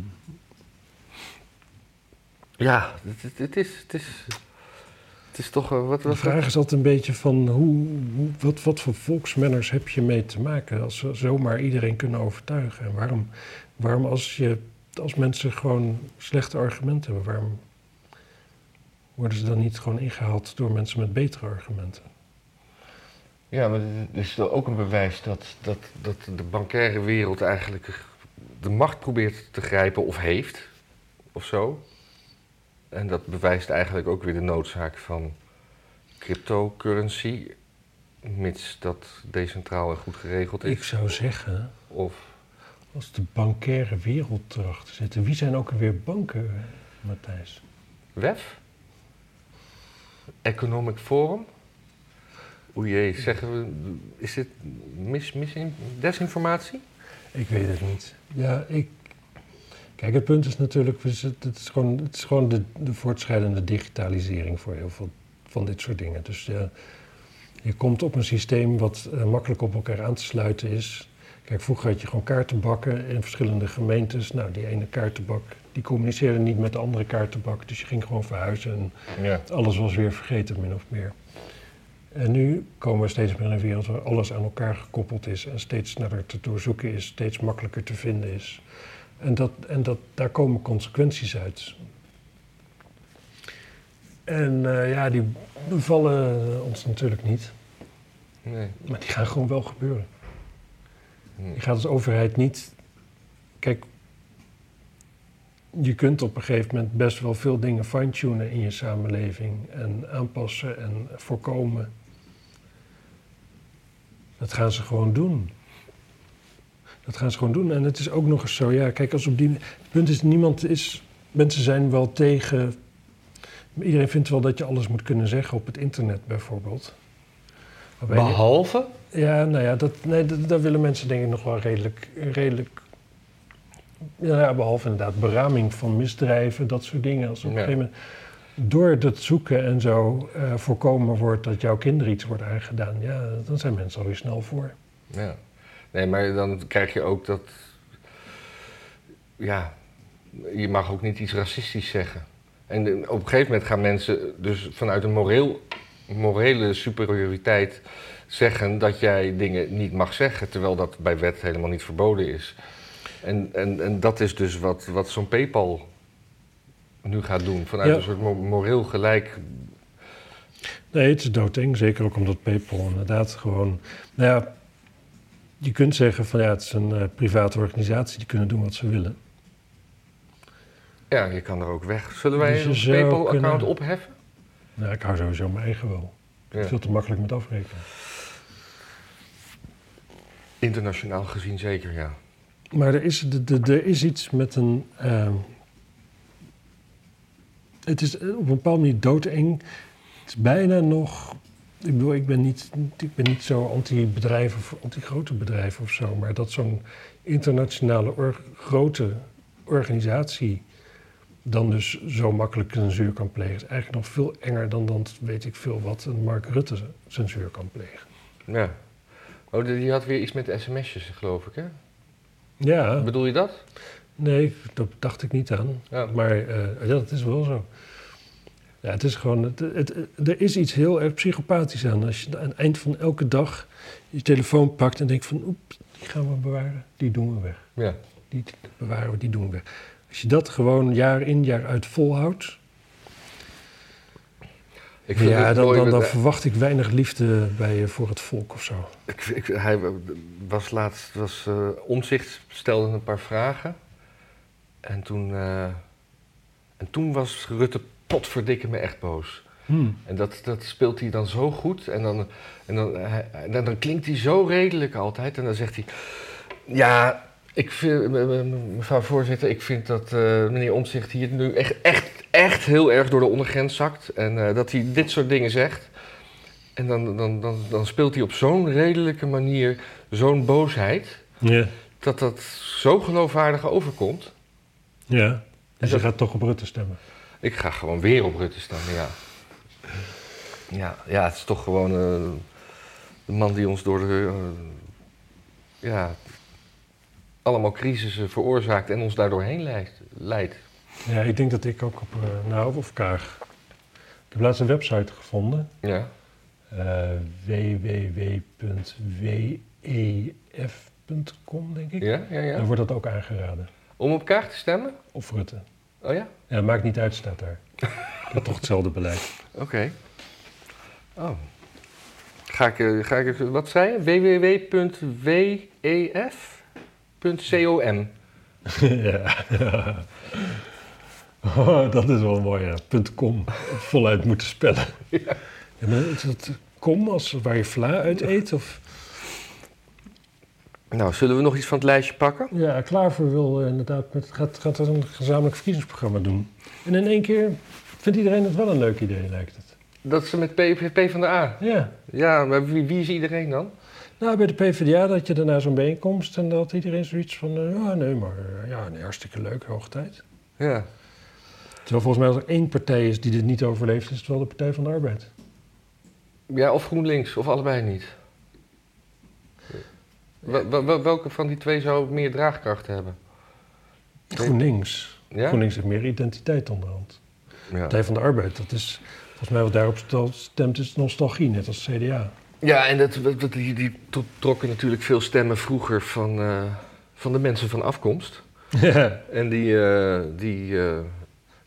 [SPEAKER 1] Ja, het, het- het is, het, is, het is toch... eh, Wat,
[SPEAKER 2] de
[SPEAKER 1] wat,
[SPEAKER 2] vraag is altijd een beetje van hoe, hoe, wat, wat voor volksmanners heb je mee te maken als ze zomaar iedereen kunnen overtuigen? En waarom, waarom als, je, als mensen gewoon slechte argumenten hebben, waarom worden ze dan niet gewoon ingehaald door mensen met betere argumenten?
[SPEAKER 1] Ja, maar het is wel ook een bewijs dat, dat, dat de bankaire wereld eigenlijk de macht probeert te grijpen of heeft, of zo. En dat bewijst eigenlijk ook weer de noodzaak van cryptocurrency, mits dat decentraal en goed geregeld is.
[SPEAKER 2] Ik zou zeggen,
[SPEAKER 1] Of,
[SPEAKER 2] als de bankaire wereld erachter zit, wie zijn ook alweer banken, Matthijs?
[SPEAKER 1] WEF? Economic Forum? O jee, zeggen we, is dit mis, mis, desinformatie?
[SPEAKER 2] Ik weet het niet. Ja, ik. Kijk, het punt is natuurlijk, we zitten- het is gewoon, het is gewoon de, de voortschrijdende digitalisering voor heel veel van dit soort dingen. Dus eh, je komt op een systeem wat eh, makkelijk op elkaar aan te sluiten is. Kijk, vroeger had je gewoon kaartenbakken in verschillende gemeentes. Nou, die ene kaartenbak, die communiceerde niet met de andere kaartenbak. Dus je ging gewoon verhuizen en
[SPEAKER 1] Ja.
[SPEAKER 2] alles was weer vergeten, min of meer. En nu komen we steeds meer in een wereld waar alles aan elkaar gekoppeld is en steeds sneller te doorzoeken is, steeds makkelijker te vinden is. En, dat, en dat, daar komen consequenties uit. En eh, ja, die bevallen ons natuurlijk niet,
[SPEAKER 1] Nee.
[SPEAKER 2] maar die gaan gewoon wel gebeuren.
[SPEAKER 1] Hm.
[SPEAKER 2] Je gaat als overheid niet. Kijk, je kunt op een gegeven moment best wel veel dingen fine-tunen in je samenleving en aanpassen en voorkomen. Dat gaan ze gewoon doen. Dat gaan ze gewoon doen. En het is ook nog eens zo, ja, kijk, als op die. Het punt is, niemand is. Mensen zijn wel tegen. Iedereen vindt wel dat je alles moet kunnen zeggen op het internet, bijvoorbeeld. Waarbij je-
[SPEAKER 1] Behalve?
[SPEAKER 2] ja, nou ja, dat, nee, dat, daar willen mensen denk ik nog wel redelijk, redelijk ja, nou ja, behalve inderdaad beraming van misdrijven, dat soort dingen. Als op een
[SPEAKER 1] Ja.
[SPEAKER 2] gegeven moment door dat zoeken en zo eh, voorkomen wordt dat jouw kinderen iets wordt aangedaan, ja, dan zijn mensen alweer snel voor.
[SPEAKER 1] Ja. Nee, maar dan krijg je ook dat. Ja, je mag ook niet iets racistisch zeggen. En eh, op een gegeven moment gaan mensen dus vanuit een moreel, morele superioriteit zeggen dat jij dingen niet mag zeggen, terwijl dat bij wet helemaal niet verboden is. En, en, en dat is dus wat, wat zo'n PayPal nu gaat doen, vanuit
[SPEAKER 2] Ja.
[SPEAKER 1] een soort mo- moreel gelijk.
[SPEAKER 2] Nee, het is doodeng. Zeker ook omdat PayPal inderdaad gewoon. Nou ja, je kunt zeggen van ja, het is een eh, private organisatie, die kunnen doen wat ze willen.
[SPEAKER 1] Ja, je kan er ook weg. Zullen wij
[SPEAKER 2] Dus je
[SPEAKER 1] ons
[SPEAKER 2] zou
[SPEAKER 1] PayPal-account
[SPEAKER 2] kunnen-
[SPEAKER 1] opheffen?
[SPEAKER 2] Nou, ik hou sowieso mijn eigen wel.
[SPEAKER 1] Ja.
[SPEAKER 2] Veel te makkelijk met afrekenen.
[SPEAKER 1] Internationaal gezien zeker, ja.
[SPEAKER 2] Maar er is, de- de- er is iets met een. ehm, het is eh, op een bepaalde manier doodeng. Het is bijna nog. Ik bedoel, ik ben niet, ik ben niet zo anti-bedrijven of anti-grote bedrijven of zo. Maar dat zo'n internationale or- grote organisatie dan dus zo makkelijk censuur kan plegen. is eigenlijk nog veel enger dan, dan weet ik veel wat een Mark Rutte censuur kan plegen.
[SPEAKER 1] Ja. Oh, die die had weer iets met sms'jes, geloof ik, hè?
[SPEAKER 2] Ja,
[SPEAKER 1] Bedoel je dat?
[SPEAKER 2] nee, dat dacht ik niet aan.
[SPEAKER 1] Ja.
[SPEAKER 2] Maar eh, ja, dat is wel zo. Ja, het is gewoon, het, het- er is iets heel erg psychopathisch aan. Als je aan het eind van elke dag je telefoon pakt en denkt van, oep, die gaan we bewaren, die doen we weg.
[SPEAKER 1] Ja.
[SPEAKER 2] Die bewaren we, die doen we weg. Als je dat gewoon jaar in, jaar uit volhoudt,
[SPEAKER 1] Ik vind
[SPEAKER 2] ja,
[SPEAKER 1] het
[SPEAKER 2] dan,
[SPEAKER 1] mooi
[SPEAKER 2] dan,
[SPEAKER 1] met-
[SPEAKER 2] dan verwacht ik weinig liefde bij je voor het volk of zo.
[SPEAKER 1] Ik, ik, hij was laatst, was, eh Omzicht stelde een paar vragen. En toen eh, En toen was Rutte potverdikke me echt boos.
[SPEAKER 2] Hmm.
[SPEAKER 1] En dat, dat speelt hij dan zo goed. En, dan, en dan, hij- en dan, dan klinkt hij zo redelijk altijd. En dan zegt hij... Ja, ik vind, me- me- me- mevrouw voorzitter, ik vind dat eh, meneer Omtzigt hier nu echt, echt, echt heel erg door de ondergrens zakt. En eh, dat hij dit soort dingen zegt. En dan, dan, dan, dan speelt hij op zo'n redelijke manier zo'n boosheid...
[SPEAKER 2] Ja,
[SPEAKER 1] dat dat zo geloofwaardig overkomt.
[SPEAKER 2] ja. Dus je
[SPEAKER 1] dat-
[SPEAKER 2] gaat toch op Rutte stemmen.
[SPEAKER 1] Ik ga gewoon weer op Rutte stemmen, ja. Ja, ja het is toch gewoon eh, de man die ons door de... eh, ja, allemaal crisissen veroorzaakt en ons daardoor heen leidt. leidt.
[SPEAKER 2] Ja, ik denk dat ik ook op, eh, nou, of Kaag. Ik heb laatst een website gevonden.
[SPEAKER 1] Ja.
[SPEAKER 2] eh www.wef.com, denk ik.
[SPEAKER 1] Ja, ja,
[SPEAKER 2] Daar
[SPEAKER 1] ja.
[SPEAKER 2] wordt dat ook aangeraden.
[SPEAKER 1] Om op kaart te stemmen?
[SPEAKER 2] Of Rutte.
[SPEAKER 1] Oh ja?
[SPEAKER 2] Ja, maakt niet uit, staat daar. Dat is toch hetzelfde beleid.
[SPEAKER 1] Oké. Oh. Ga ik, eh, ga ik even... Wat zei je? E www.wef.com
[SPEAKER 2] ja. Oh, dat is wel mooi, ja. Punt .com. Voluit moeten spellen. Ja. maar is dat com als waar je vla uit eet? Of?
[SPEAKER 1] Nou, zullen we nog iets van het lijstje pakken?
[SPEAKER 2] Ja, Klaver wil eh, inderdaad, met, gaat, gaat dat een gezamenlijk verkiezingsprogramma doen. En in één keer vindt iedereen het wel een leuk idee, lijkt het.
[SPEAKER 1] Dat ze met P, P van de A.
[SPEAKER 2] Ja,
[SPEAKER 1] Ja, maar wie, wie is iedereen dan?
[SPEAKER 2] Nou, bij de PvdA dat je daarna zo'n bijeenkomst en dat iedereen zoiets van, eh, ja, nee, maar eh, ja, nee, hartstikke leuk, hoogtijd.
[SPEAKER 1] Ja.
[SPEAKER 2] Terwijl volgens mij als er één partij is die dit niet overleeft, is het wel de Partij van de Arbeid.
[SPEAKER 1] ja, of GroenLinks, of allebei niet. Wel- wel- wel- welke van die twee zou meer draagkracht hebben?
[SPEAKER 2] GroenLinks.
[SPEAKER 1] Ja?
[SPEAKER 2] GroenLinks heeft meer identiteit onderhand.
[SPEAKER 1] Ja.
[SPEAKER 2] Partij van de Arbeid, dat is volgens mij wat daarop stel- stemt, is nostalgie, net als CDA.
[SPEAKER 1] Ja, en dat, dat- dat- die, die tro- trokken natuurlijk veel stemmen vroeger van, eh, van de mensen van afkomst.
[SPEAKER 2] Ja.
[SPEAKER 1] En die, eh, die, eh,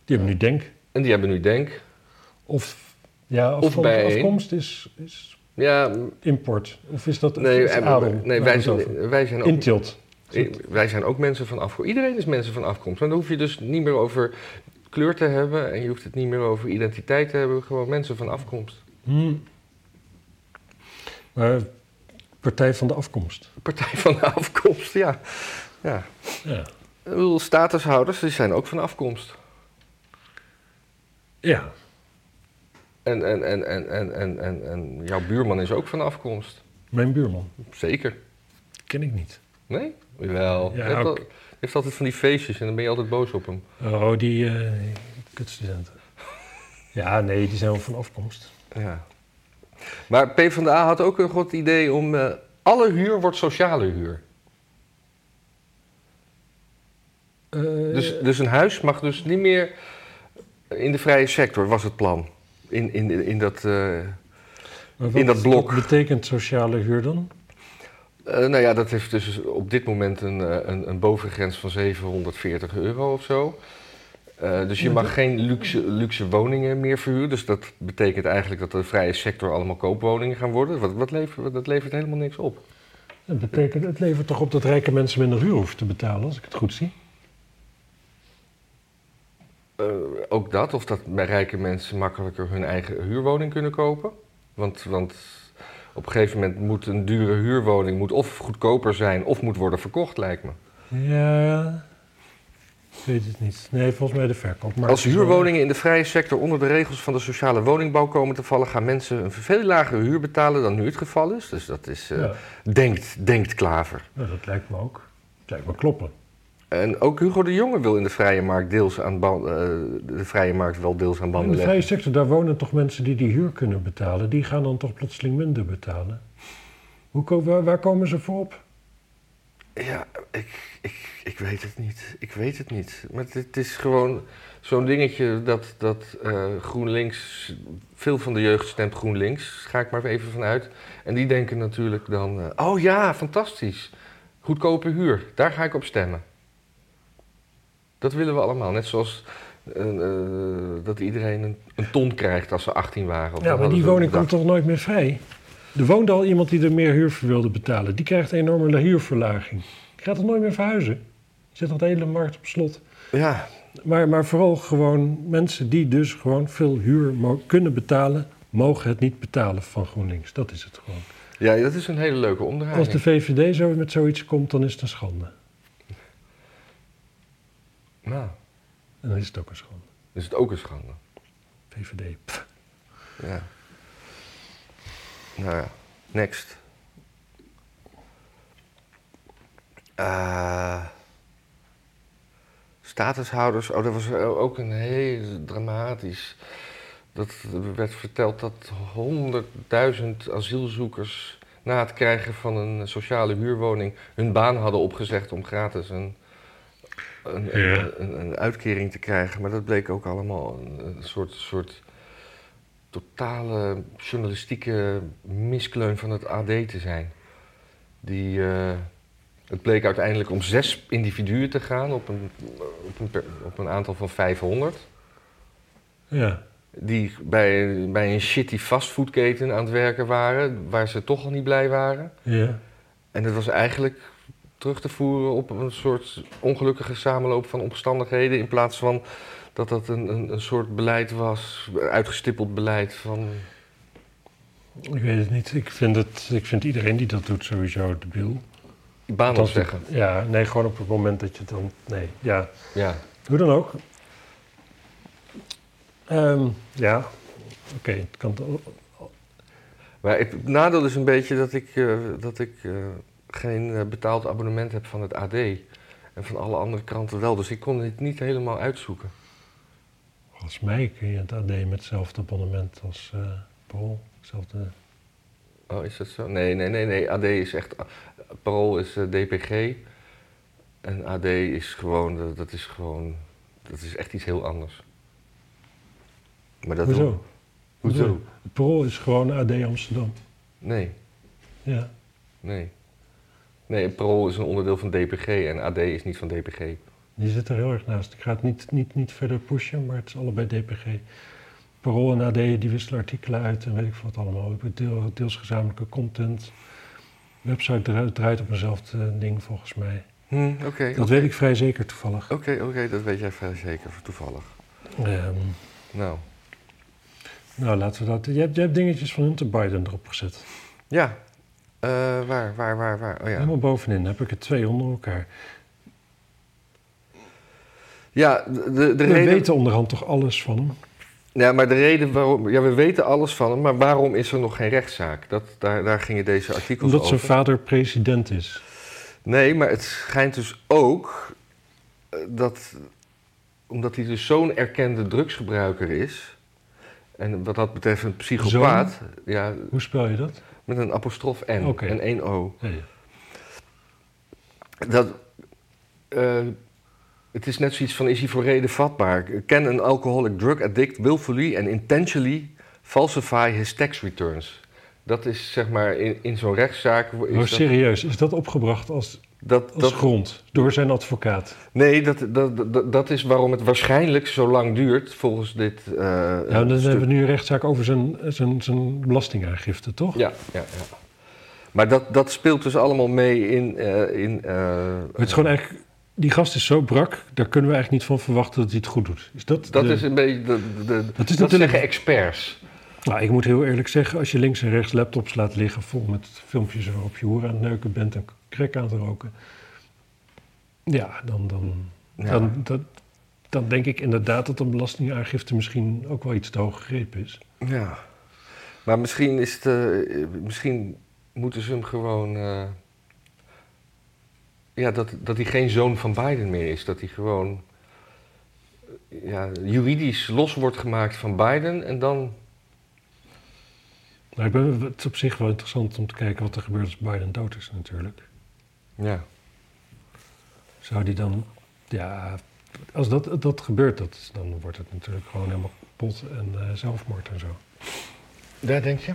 [SPEAKER 2] Die hebben nu Denk.
[SPEAKER 1] en die hebben nu Denk.
[SPEAKER 2] Of, ja,
[SPEAKER 1] Of
[SPEAKER 2] afkomst,
[SPEAKER 1] bijeen.
[SPEAKER 2] afkomst is, is
[SPEAKER 1] Ja,
[SPEAKER 2] import. Of is dat
[SPEAKER 1] nee,
[SPEAKER 2] is
[SPEAKER 1] en-
[SPEAKER 2] adel?
[SPEAKER 1] nee
[SPEAKER 2] Waar
[SPEAKER 1] wij,
[SPEAKER 2] hebben we het over?
[SPEAKER 1] zijn, wij zijn ook...
[SPEAKER 2] Intilt.
[SPEAKER 1] I- Wij zijn ook mensen van afkomst. Iedereen is mensen van afkomst. Maar dan hoef je dus niet meer over kleur te hebben en je hoeft het niet meer over identiteit te hebben. Gewoon mensen van afkomst.
[SPEAKER 2] Hmm. Maar Partij van de Afkomst.
[SPEAKER 1] Partij van de afkomst, ja. ja.
[SPEAKER 2] Ja.
[SPEAKER 1] Ik bedoel, statushouders die zijn ook van afkomst.
[SPEAKER 2] Ja.
[SPEAKER 1] En, en, en, en, en, en, en, en jouw buurman is ook van afkomst.
[SPEAKER 2] Mijn buurman.
[SPEAKER 1] Zeker.
[SPEAKER 2] Ken ik niet.
[SPEAKER 1] Nee? Wel.
[SPEAKER 2] Ja,
[SPEAKER 1] Hij heeft, al-
[SPEAKER 2] ook.
[SPEAKER 1] hij heeft altijd van die feestjes en dan ben je altijd boos op hem.
[SPEAKER 2] Oh, die eh, kutstudenten. Ja, nee, die zijn wel van afkomst.
[SPEAKER 1] Ja. Maar PvdA had ook een goed idee om... eh, alle huur wordt sociale huur.
[SPEAKER 2] Eh,
[SPEAKER 1] Dus, dus een huis mag dus niet meer in de vrije sector, was het plan. In, in, in dat, eh, eh,
[SPEAKER 2] maar
[SPEAKER 1] in dat blok.
[SPEAKER 2] Wat betekent sociale huur dan?
[SPEAKER 1] nou ja, dat heeft dus op dit moment een, eh, een, een bovengrens van 740 euro of zo. Eh, dus je mag geen luxe, luxe woningen meer verhuren. Dus dat betekent eigenlijk dat de vrije sector allemaal koopwoningen gaan worden. Wat, wat levert, dat levert helemaal niks op.
[SPEAKER 2] Dat betekent, het levert toch op dat rijke mensen minder huur hoeven te betalen, als ik het goed zie?
[SPEAKER 1] Eh, ook dat, of dat rijke mensen makkelijker hun eigen huurwoning kunnen kopen. Want, want op een gegeven moment moet een dure huurwoning moet of goedkoper zijn of moet worden verkocht, lijkt me.
[SPEAKER 2] Ja, ik weet het niet. Nee, volgens mij de verkoopmarkt.
[SPEAKER 1] Als
[SPEAKER 2] is wel-
[SPEAKER 1] huurwoningen in de vrije sector onder de regels van de sociale woningbouw komen te vallen, gaan mensen een veel lagere huur betalen dan nu het geval is. Dus dat is. eh,
[SPEAKER 2] Ja,
[SPEAKER 1] denkt, denkt Klaver.
[SPEAKER 2] nou, dat lijkt me ook. Dat lijkt me kloppen.
[SPEAKER 1] En ook Hugo de Jonge wil in de vrije markt, deels aan ban- eh, de vrije markt wel deels aan
[SPEAKER 2] In
[SPEAKER 1] banden
[SPEAKER 2] de
[SPEAKER 1] leggen.
[SPEAKER 2] vrije sector, daar wonen toch mensen die die huur kunnen betalen. Die gaan dan toch plotseling minder betalen. Hoe, ko- waar, waar komen ze voor op?
[SPEAKER 1] Ja, ik, ik, ik weet het niet. Ik weet het niet. Maar het, het is gewoon zo'n dingetje dat, dat eh, GroenLinks... Veel van de jeugd stemt GroenLinks, ga ik maar even vanuit. En die denken natuurlijk dan... eh, oh ja, fantastisch. Goedkope huur, daar ga ik op stemmen. Dat willen we allemaal. Net zoals eh, eh, dat iedereen een, een ton krijgt als ze 18 waren. Of
[SPEAKER 2] Ja,
[SPEAKER 1] dan
[SPEAKER 2] maar
[SPEAKER 1] hadden
[SPEAKER 2] die
[SPEAKER 1] ze
[SPEAKER 2] woning komt
[SPEAKER 1] bedacht.
[SPEAKER 2] toch nooit meer vrij? Er woonde al iemand die er meer huur voor wilde betalen. Die krijgt een enorme huurverlaging. Die gaat toch nooit meer verhuizen? Zet dat hele markt op slot.
[SPEAKER 1] Ja,
[SPEAKER 2] Maar, maar vooral gewoon mensen die dus gewoon veel huur mo- kunnen betalen, mogen het niet betalen van GroenLinks. Dat is het gewoon.
[SPEAKER 1] ja dat is een hele leuke
[SPEAKER 2] Als
[SPEAKER 1] omdraaiing.
[SPEAKER 2] de VVD zo met zoiets komt, dan is het een schande.
[SPEAKER 1] Nou,
[SPEAKER 2] En dan is het ook een schande.
[SPEAKER 1] is het ook een schande.
[SPEAKER 2] VVD. pff.
[SPEAKER 1] Ja. Nou ja, next. Eh, statushouders, oh, dat was ook een heel dramatisch. Dat werd verteld dat 100.000 asielzoekers na het krijgen van een sociale huurwoning hun baan hadden opgezegd om gratis een, een,
[SPEAKER 2] Ja.
[SPEAKER 1] een, een uitkering te krijgen. Maar dat bleek ook allemaal een, een soort, soort totale journalistieke miskleun van het AD te zijn. Die, eh, het bleek uiteindelijk om zes individuen te gaan op een, op een, per- op een aantal van 500.
[SPEAKER 2] Ja.
[SPEAKER 1] Die bij, bij een shitty fastfoodketen aan het werken waren, waar ze toch al niet blij waren.
[SPEAKER 2] Ja.
[SPEAKER 1] En dat was eigenlijk terug te voeren op een soort ongelukkige samenloop van omstandigheden. In plaats van dat dat een, een, een soort beleid was, uitgestippeld beleid van.
[SPEAKER 2] Ik weet het niet. Ik vind, het, ik vind iedereen die dat doet sowieso debiel.
[SPEAKER 1] Baan
[SPEAKER 2] Althans,
[SPEAKER 1] opzeggen.
[SPEAKER 2] Ja, nee, gewoon op het moment dat je het dan... Nee, ja.
[SPEAKER 1] Ja.
[SPEAKER 2] Hoe dan ook. Ehm, ja, oké. het kan toch-
[SPEAKER 1] Maar het het nadeel is een beetje dat ik, eh, dat ik eh, geen eh, betaald abonnement heb van het AD. En van alle andere kranten wel. Dus ik kon het niet helemaal uitzoeken.
[SPEAKER 2] Volgens mij kun je het AD met hetzelfde abonnement als eh Parool. Hetzelfde.
[SPEAKER 1] Oh, is dat zo? Nee, nee, nee, nee. AD is echt. Parool is eh, DPG. En AD is gewoon. eh, dat is gewoon. Dat is echt iets heel anders. Maar dat
[SPEAKER 2] Hoezo?
[SPEAKER 1] Hoezo?
[SPEAKER 2] Het Parool is gewoon AD Amsterdam.
[SPEAKER 1] Nee,
[SPEAKER 2] Ja.
[SPEAKER 1] nee. Nee, Parool is een onderdeel van DPG en AD is niet van DPG.
[SPEAKER 2] Die zit er heel erg naast. Ik ga het niet, niet, niet verder pushen, maar het is allebei DPG. Parool en AD die wisselen artikelen uit en weet ik wat allemaal. We hebben deel- deels gezamenlijke content. De website dra- draait op eenzelfde ding volgens mij.
[SPEAKER 1] Hm, Oké, oké,
[SPEAKER 2] Dat weet ik vrij zeker toevallig.
[SPEAKER 1] oké, dat weet jij vrij zeker, toevallig.
[SPEAKER 2] Ehm,
[SPEAKER 1] Nou,
[SPEAKER 2] nou, laten we dat. Je hebt, je hebt dingetjes van Hunter Biden erop gezet.
[SPEAKER 1] ja. Eh, waar, waar, waar, waar? Oh ja.
[SPEAKER 2] Helemaal bovenin heb ik er twee onder elkaar.
[SPEAKER 1] Ja, de, de, de
[SPEAKER 2] We
[SPEAKER 1] reden...
[SPEAKER 2] weten onderhand toch alles van hem?
[SPEAKER 1] Ja, maar de reden waarom... Ja, we weten alles van hem, maar waarom is er nog geen rechtszaak? Dat, daar, daar gingen deze artikels
[SPEAKER 2] Omdat
[SPEAKER 1] over.
[SPEAKER 2] zijn vader president is.
[SPEAKER 1] Nee, maar het schijnt dus ook eh, dat omdat hij dus zo'n erkende drugsgebruiker is. En wat dat betreft een psychopaat. Ja,
[SPEAKER 2] Hoe spel je dat?
[SPEAKER 1] met een apostrof N
[SPEAKER 2] Oké.
[SPEAKER 1] en één O.
[SPEAKER 2] Nee.
[SPEAKER 1] Dat, eh, het is net zoiets van, is hij voor reden vatbaar? Can an alcoholic drug addict willfully and intentionally falsify his tax returns? Dat is zeg maar in, in zo'n rechtszaak... is
[SPEAKER 2] Maar
[SPEAKER 1] dat-
[SPEAKER 2] Oh, serieus, is dat opgebracht als,
[SPEAKER 1] dat,
[SPEAKER 2] als
[SPEAKER 1] dat,
[SPEAKER 2] grond door zijn advocaat?
[SPEAKER 1] Nee, dat, dat, dat, dat is waarom het waarschijnlijk zo lang duurt volgens dit. eh,
[SPEAKER 2] nou, dan
[SPEAKER 1] stuk.
[SPEAKER 2] hebben we nu een rechtszaak over zijn, zijn, zijn belastingaangifte, toch?
[SPEAKER 1] Ja, ja, ja. Maar dat, dat speelt dus allemaal mee in. eh, in eh,
[SPEAKER 2] Maar het is gewoon eigenlijk, die gast is zo brak, daar kunnen we eigenlijk niet van verwachten dat hij het goed doet. Is dat,
[SPEAKER 1] dat
[SPEAKER 2] de-
[SPEAKER 1] is een beetje. De, de- de-
[SPEAKER 2] Dat
[SPEAKER 1] dat
[SPEAKER 2] is natuurlijk-
[SPEAKER 1] zeggen experts.
[SPEAKER 2] Nou, ik moet heel eerlijk zeggen, als je links en rechts laptops laat liggen vol met filmpjes waarop je hoer aan het neuken bent en krek aan het roken. Ja, dan, dan,
[SPEAKER 1] Ja.
[SPEAKER 2] dan, dat, dan denk ik inderdaad dat een belastingaangifte misschien ook wel iets te hoog gegrepen is.
[SPEAKER 1] Ja. Maar misschien is het. eh, eh, misschien moeten ze hem gewoon. eh, ja, dat, dat hij geen zoon van Biden meer is. Dat hij gewoon. eh, Ja, juridisch los wordt gemaakt van Biden en dan.
[SPEAKER 2] Maar ik ben, het is op zich wel interessant om te kijken wat er gebeurt als Biden dood is natuurlijk.
[SPEAKER 1] Ja.
[SPEAKER 2] Zou die dan, ja, als dat, dat gebeurt, dat, dan wordt het natuurlijk gewoon helemaal kapot en eh, zelfmoord en zo.
[SPEAKER 1] Daar denk je?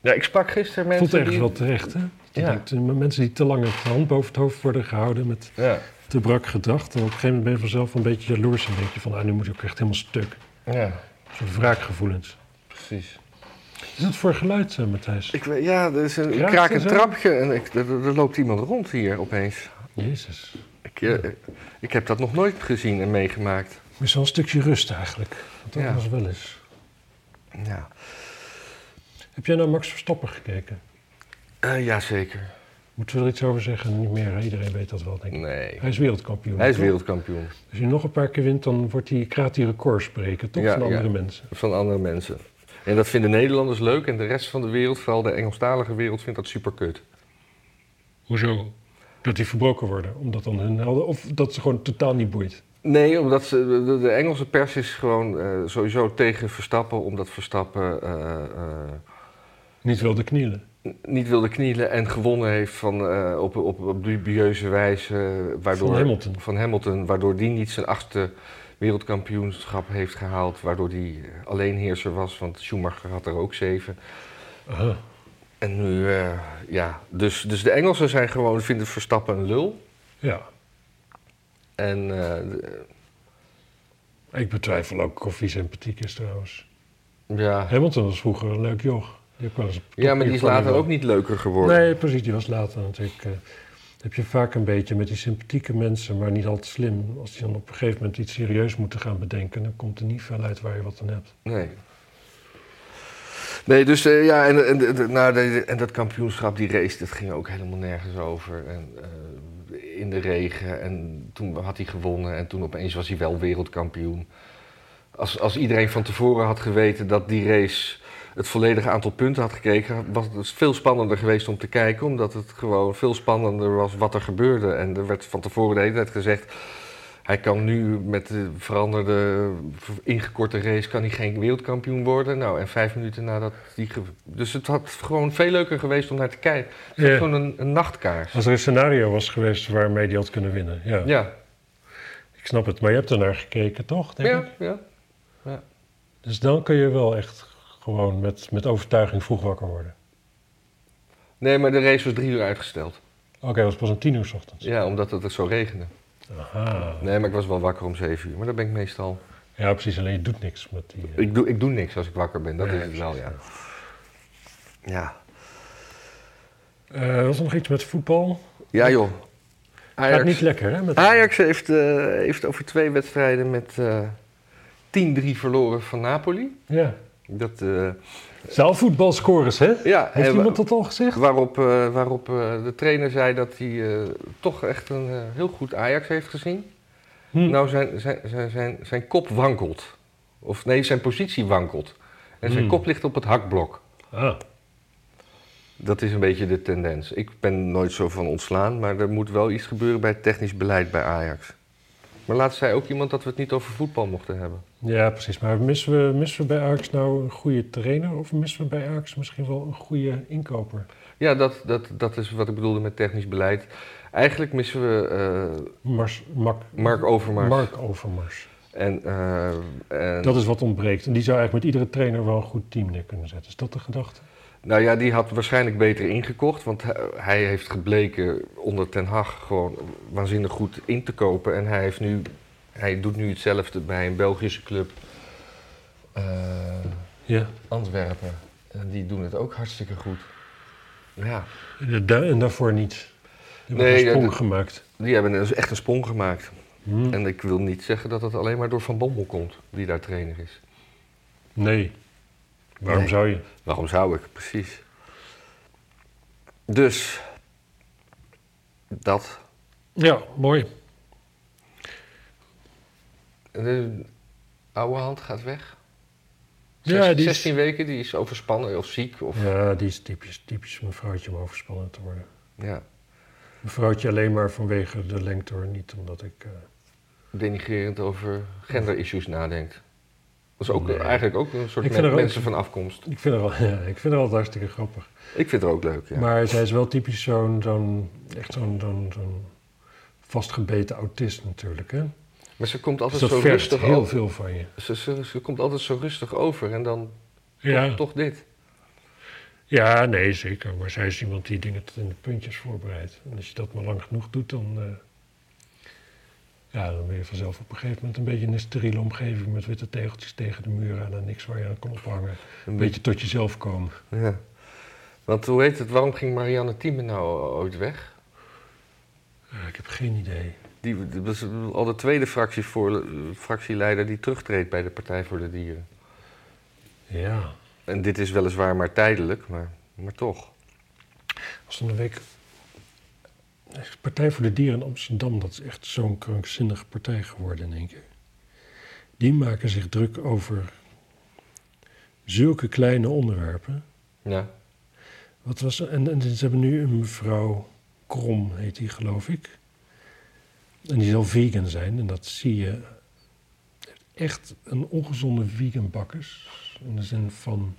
[SPEAKER 1] Ja, ik sprak gisteren
[SPEAKER 2] Het
[SPEAKER 1] mensen.
[SPEAKER 2] voelt ergens
[SPEAKER 1] die-
[SPEAKER 2] wel terecht, hè? Je
[SPEAKER 1] Ja.
[SPEAKER 2] denkt, eh, mensen die te lang met de hand boven het hoofd worden gehouden met
[SPEAKER 1] Ja,
[SPEAKER 2] te brak gedacht. En op een gegeven moment ben je vanzelf een beetje jaloers en denk je van, ah, nu moet ik ook echt helemaal stuk.
[SPEAKER 1] ja,
[SPEAKER 2] Een soort wraakgevoelens.
[SPEAKER 1] precies.
[SPEAKER 2] Wat is dat voor geluid, eh, Matthijs?
[SPEAKER 1] Ik, weet- ja, er is een
[SPEAKER 2] Kraakt
[SPEAKER 1] kraak een
[SPEAKER 2] het zo?
[SPEAKER 1] trapje en ik, er, er loopt iemand rond hier opeens.
[SPEAKER 2] Jezus.
[SPEAKER 1] Ik, Ik, eh, ik heb dat nog nooit gezien en meegemaakt.
[SPEAKER 2] Maar het is wel een stukje rust eigenlijk. Want dat
[SPEAKER 1] Ja.
[SPEAKER 2] was wel eens.
[SPEAKER 1] Ja,
[SPEAKER 2] Heb jij naar Max Verstappen gekeken?
[SPEAKER 1] Eh, jazeker.
[SPEAKER 2] Moeten we er iets over zeggen? Niet meer, hè? iedereen weet dat wel, denk ik.
[SPEAKER 1] Nee.
[SPEAKER 2] Hij is wereldkampioen.
[SPEAKER 1] Hij is
[SPEAKER 2] toch?
[SPEAKER 1] wereldkampioen
[SPEAKER 2] Als hij nog een paar keer wint, dan wordt hij, gaat hij records spreken, toch?
[SPEAKER 1] Ja,
[SPEAKER 2] van andere
[SPEAKER 1] ja.
[SPEAKER 2] mensen.
[SPEAKER 1] van andere mensen. En dat vinden Nederlanders leuk en de rest van de wereld, vooral de Engelstalige wereld, vindt dat super kut.
[SPEAKER 2] Hoezo? Dat die verbroken worden, omdat dan hun helden... Of dat ze gewoon totaal niet boeit.
[SPEAKER 1] Nee, omdat ze, de, de Engelse pers is gewoon eh, sowieso tegen Verstappen, omdat Verstappen eh, eh,
[SPEAKER 2] Niet wilde knielen.
[SPEAKER 1] niet wilde knielen en gewonnen heeft van, eh, op, op, op dubieuze wijze. Waardoor,
[SPEAKER 2] Van Hamilton.
[SPEAKER 1] van Hamilton, waardoor die niet zijn achtste wereldkampioenschap heeft gehaald. Waardoor die eh, alleenheerser was, want Schumacher had er ook zeven.
[SPEAKER 2] Aha.
[SPEAKER 1] En nu, eh, ja, dus, dus de Engelsen zijn gewoon, vinden Verstappen een lul.
[SPEAKER 2] Ja.
[SPEAKER 1] En eh, de-
[SPEAKER 2] Ik betwijfel ook of hij sympathiek is trouwens.
[SPEAKER 1] ja,
[SPEAKER 2] Hamilton was vroeger een leuk joch. Die heeft wel eens een
[SPEAKER 1] ja, maar die is
[SPEAKER 2] topje
[SPEAKER 1] later
[SPEAKER 2] van-
[SPEAKER 1] ook niet leuker geworden.
[SPEAKER 2] Nee, precies. Die was later natuurlijk. eh, heb je vaak een beetje met die sympathieke mensen, maar niet altijd slim. Als die dan op een gegeven moment iets serieus moeten gaan bedenken, dan komt er niet veel uit waar je wat aan hebt.
[SPEAKER 1] Nee. Nee, dus eh, ja, en, en, en- nou, de- en dat kampioenschap, die race, dat ging ook helemaal nergens over. En, eh, in de regen en toen had hij gewonnen en toen opeens was hij wel wereldkampioen. Als, als iedereen van tevoren had geweten dat die race het volledige aantal punten had gekregen, was het dus veel spannender geweest om te kijken, omdat het gewoon veel spannender was wat er gebeurde. En er werd van tevoren de hele tijd gezegd, hij kan nu met de veranderde, ver- ingekorte race, kan hij geen wereldkampioen worden. Nou, en vijf minuten nadat die... ge- Dus het had gewoon veel leuker geweest om naar te kijken. Het was
[SPEAKER 2] Ja.
[SPEAKER 1] Gewoon een, een nachtkaars.
[SPEAKER 2] Als er een scenario was geweest waarmee die had kunnen winnen. Ja,
[SPEAKER 1] Ja,
[SPEAKER 2] ik snap het. Maar je hebt ernaar gekeken, toch? Denk
[SPEAKER 1] ja,
[SPEAKER 2] ik?
[SPEAKER 1] ja.
[SPEAKER 2] Dus dan kun je wel echt gewoon met, met overtuiging vroeg wakker worden.
[SPEAKER 1] Nee, maar de race was drie uur uitgesteld.
[SPEAKER 2] Oké, dat was pas om tien uur 's ochtends.
[SPEAKER 1] Ja, omdat het er zo regende.
[SPEAKER 2] Aha.
[SPEAKER 1] Nee, maar ik was wel wakker om zeven uur. Maar dat ben ik meestal...
[SPEAKER 2] Ja, precies. Alleen je doet niks met die. eh,
[SPEAKER 1] Ik doe, ik doe niks als ik wakker ben, dat
[SPEAKER 2] Ja,
[SPEAKER 1] is het wel, ja. Ja,
[SPEAKER 2] eh, was er nog iets met voetbal?
[SPEAKER 1] ja joh.
[SPEAKER 2] Gaat niet
[SPEAKER 1] Ajax,
[SPEAKER 2] lekker, hè? Met...
[SPEAKER 1] Ajax heeft, eh, heeft over twee wedstrijden met eh 10-3 verloren van Napoli.
[SPEAKER 2] Ja.
[SPEAKER 1] Dat, eh,
[SPEAKER 2] Zaalvoetbalscores, hè?
[SPEAKER 1] ja,
[SPEAKER 2] Heeft
[SPEAKER 1] en
[SPEAKER 2] iemand
[SPEAKER 1] wa-
[SPEAKER 2] dat al gezegd?
[SPEAKER 1] waarop, eh, waarop eh, de trainer zei dat hij eh, toch echt een eh, heel goed Ajax heeft gezien.
[SPEAKER 2] Hm.
[SPEAKER 1] Nou, zijn, zijn, zijn, zijn, zijn kop wankelt. Of nee, zijn positie wankelt. En zijn
[SPEAKER 2] Hmm.
[SPEAKER 1] kop ligt op het hakblok.
[SPEAKER 2] Ah,
[SPEAKER 1] Dat is een beetje de tendens. Ik ben nooit zo van ontslaan, maar er moet wel iets gebeuren bij het technisch beleid bij Ajax. Maar laatst zei ook iemand dat we het niet over voetbal mochten hebben.
[SPEAKER 2] ja, precies. Maar missen we, missen we bij Ajax nou een goede trainer? Of missen we bij Ajax misschien wel een goede inkoper?
[SPEAKER 1] Ja, dat, dat, dat is wat ik bedoelde met technisch beleid. Eigenlijk missen we eh,
[SPEAKER 2] Mars, Mak,
[SPEAKER 1] Mark Overmars.
[SPEAKER 2] Mark Overmars.
[SPEAKER 1] En, eh, en-
[SPEAKER 2] Dat is wat ontbreekt. En die zou eigenlijk met iedere trainer wel een goed team neer kunnen zetten. Is dat de gedachte?
[SPEAKER 1] nou ja, die had waarschijnlijk beter ingekocht, want hij, hij heeft gebleken onder Ten Hag gewoon waanzinnig goed in te kopen. En hij, heeft nu, hij doet nu hetzelfde bij een Belgische club, eh,
[SPEAKER 2] Ja.
[SPEAKER 1] Antwerpen. En die doen het ook hartstikke goed. Ja,
[SPEAKER 2] En, da- en daarvoor niet. Die hebben
[SPEAKER 1] Nee,
[SPEAKER 2] een sprong
[SPEAKER 1] dat-
[SPEAKER 2] gemaakt.
[SPEAKER 1] die hebben dus echt een sprong gemaakt.
[SPEAKER 2] Hm.
[SPEAKER 1] En ik wil niet zeggen dat het alleen maar door Van Bommel komt, die daar trainer is.
[SPEAKER 2] Nee. Waarom
[SPEAKER 1] Nee.
[SPEAKER 2] zou je?
[SPEAKER 1] Waarom zou ik? Precies. Dus, dat.
[SPEAKER 2] Ja, mooi.
[SPEAKER 1] De oude hand gaat weg.
[SPEAKER 2] Ja,
[SPEAKER 1] Zes-
[SPEAKER 2] die is-
[SPEAKER 1] 16 weken, die is overspannen of ziek. Of,
[SPEAKER 2] Ja, die is typisch, typisch een vrouwtje om overspannen te worden.
[SPEAKER 1] ja,
[SPEAKER 2] Een vrouwtje alleen maar vanwege de lengte hoor. Niet omdat ik... eh,
[SPEAKER 1] denigrerend over gender-issues nadenkt. Dat is ook,
[SPEAKER 2] Nee.
[SPEAKER 1] eigenlijk ook een soort
[SPEAKER 2] Ik vind
[SPEAKER 1] men-
[SPEAKER 2] er ook-
[SPEAKER 1] mensen van afkomst.
[SPEAKER 2] ik, vind er al, ja, ik vind er altijd hartstikke grappig.
[SPEAKER 1] Ik vind het ook leuk, ja.
[SPEAKER 2] Maar zij is wel typisch zo'n, zo'n echt zo'n, zo'n, zo'n vastgebeten autist natuurlijk. Hè?
[SPEAKER 1] Maar ze komt
[SPEAKER 2] Dus
[SPEAKER 1] altijd
[SPEAKER 2] dat
[SPEAKER 1] zo
[SPEAKER 2] vergt
[SPEAKER 1] rustig
[SPEAKER 2] heel
[SPEAKER 1] over.
[SPEAKER 2] veel van je.
[SPEAKER 1] Ze, ze, ze komt altijd zo rustig over en dan
[SPEAKER 2] Ja,
[SPEAKER 1] toch dit.
[SPEAKER 2] ja, nee, zeker. Maar zij is iemand die dingen tot in de puntjes voorbereidt. En als je dat maar lang genoeg doet, dan, eh, ja, dan ben je vanzelf op een gegeven moment een beetje in een steriele omgeving met witte tegeltjes tegen de muren en dan niks waar je aan kan ophangen. Een beetje tot jezelf komen.
[SPEAKER 1] Ja. Want hoe heet het, waarom ging Marianne Thieme nou ooit weg?
[SPEAKER 2] Ja, ik heb geen idee.
[SPEAKER 1] Die Die, dat is al de tweede fractievoor- fractieleider die terugtreedt bij de Partij voor de Dieren.
[SPEAKER 2] Ja.
[SPEAKER 1] En dit is weliswaar maar tijdelijk, maar, maar toch.
[SPEAKER 2] Als dan een week. Partij voor de Dieren in Amsterdam, dat is echt zo'n krankzinnige partij geworden in één keer. Die maken zich druk over zulke kleine onderwerpen.
[SPEAKER 1] Ja.
[SPEAKER 2] Wat was, en, en ze hebben nu een mevrouw Krom, heet die geloof ik. En die zal vegan zijn. En dat zie je. Echt een ongezonde vegan bakkers. In de zin van...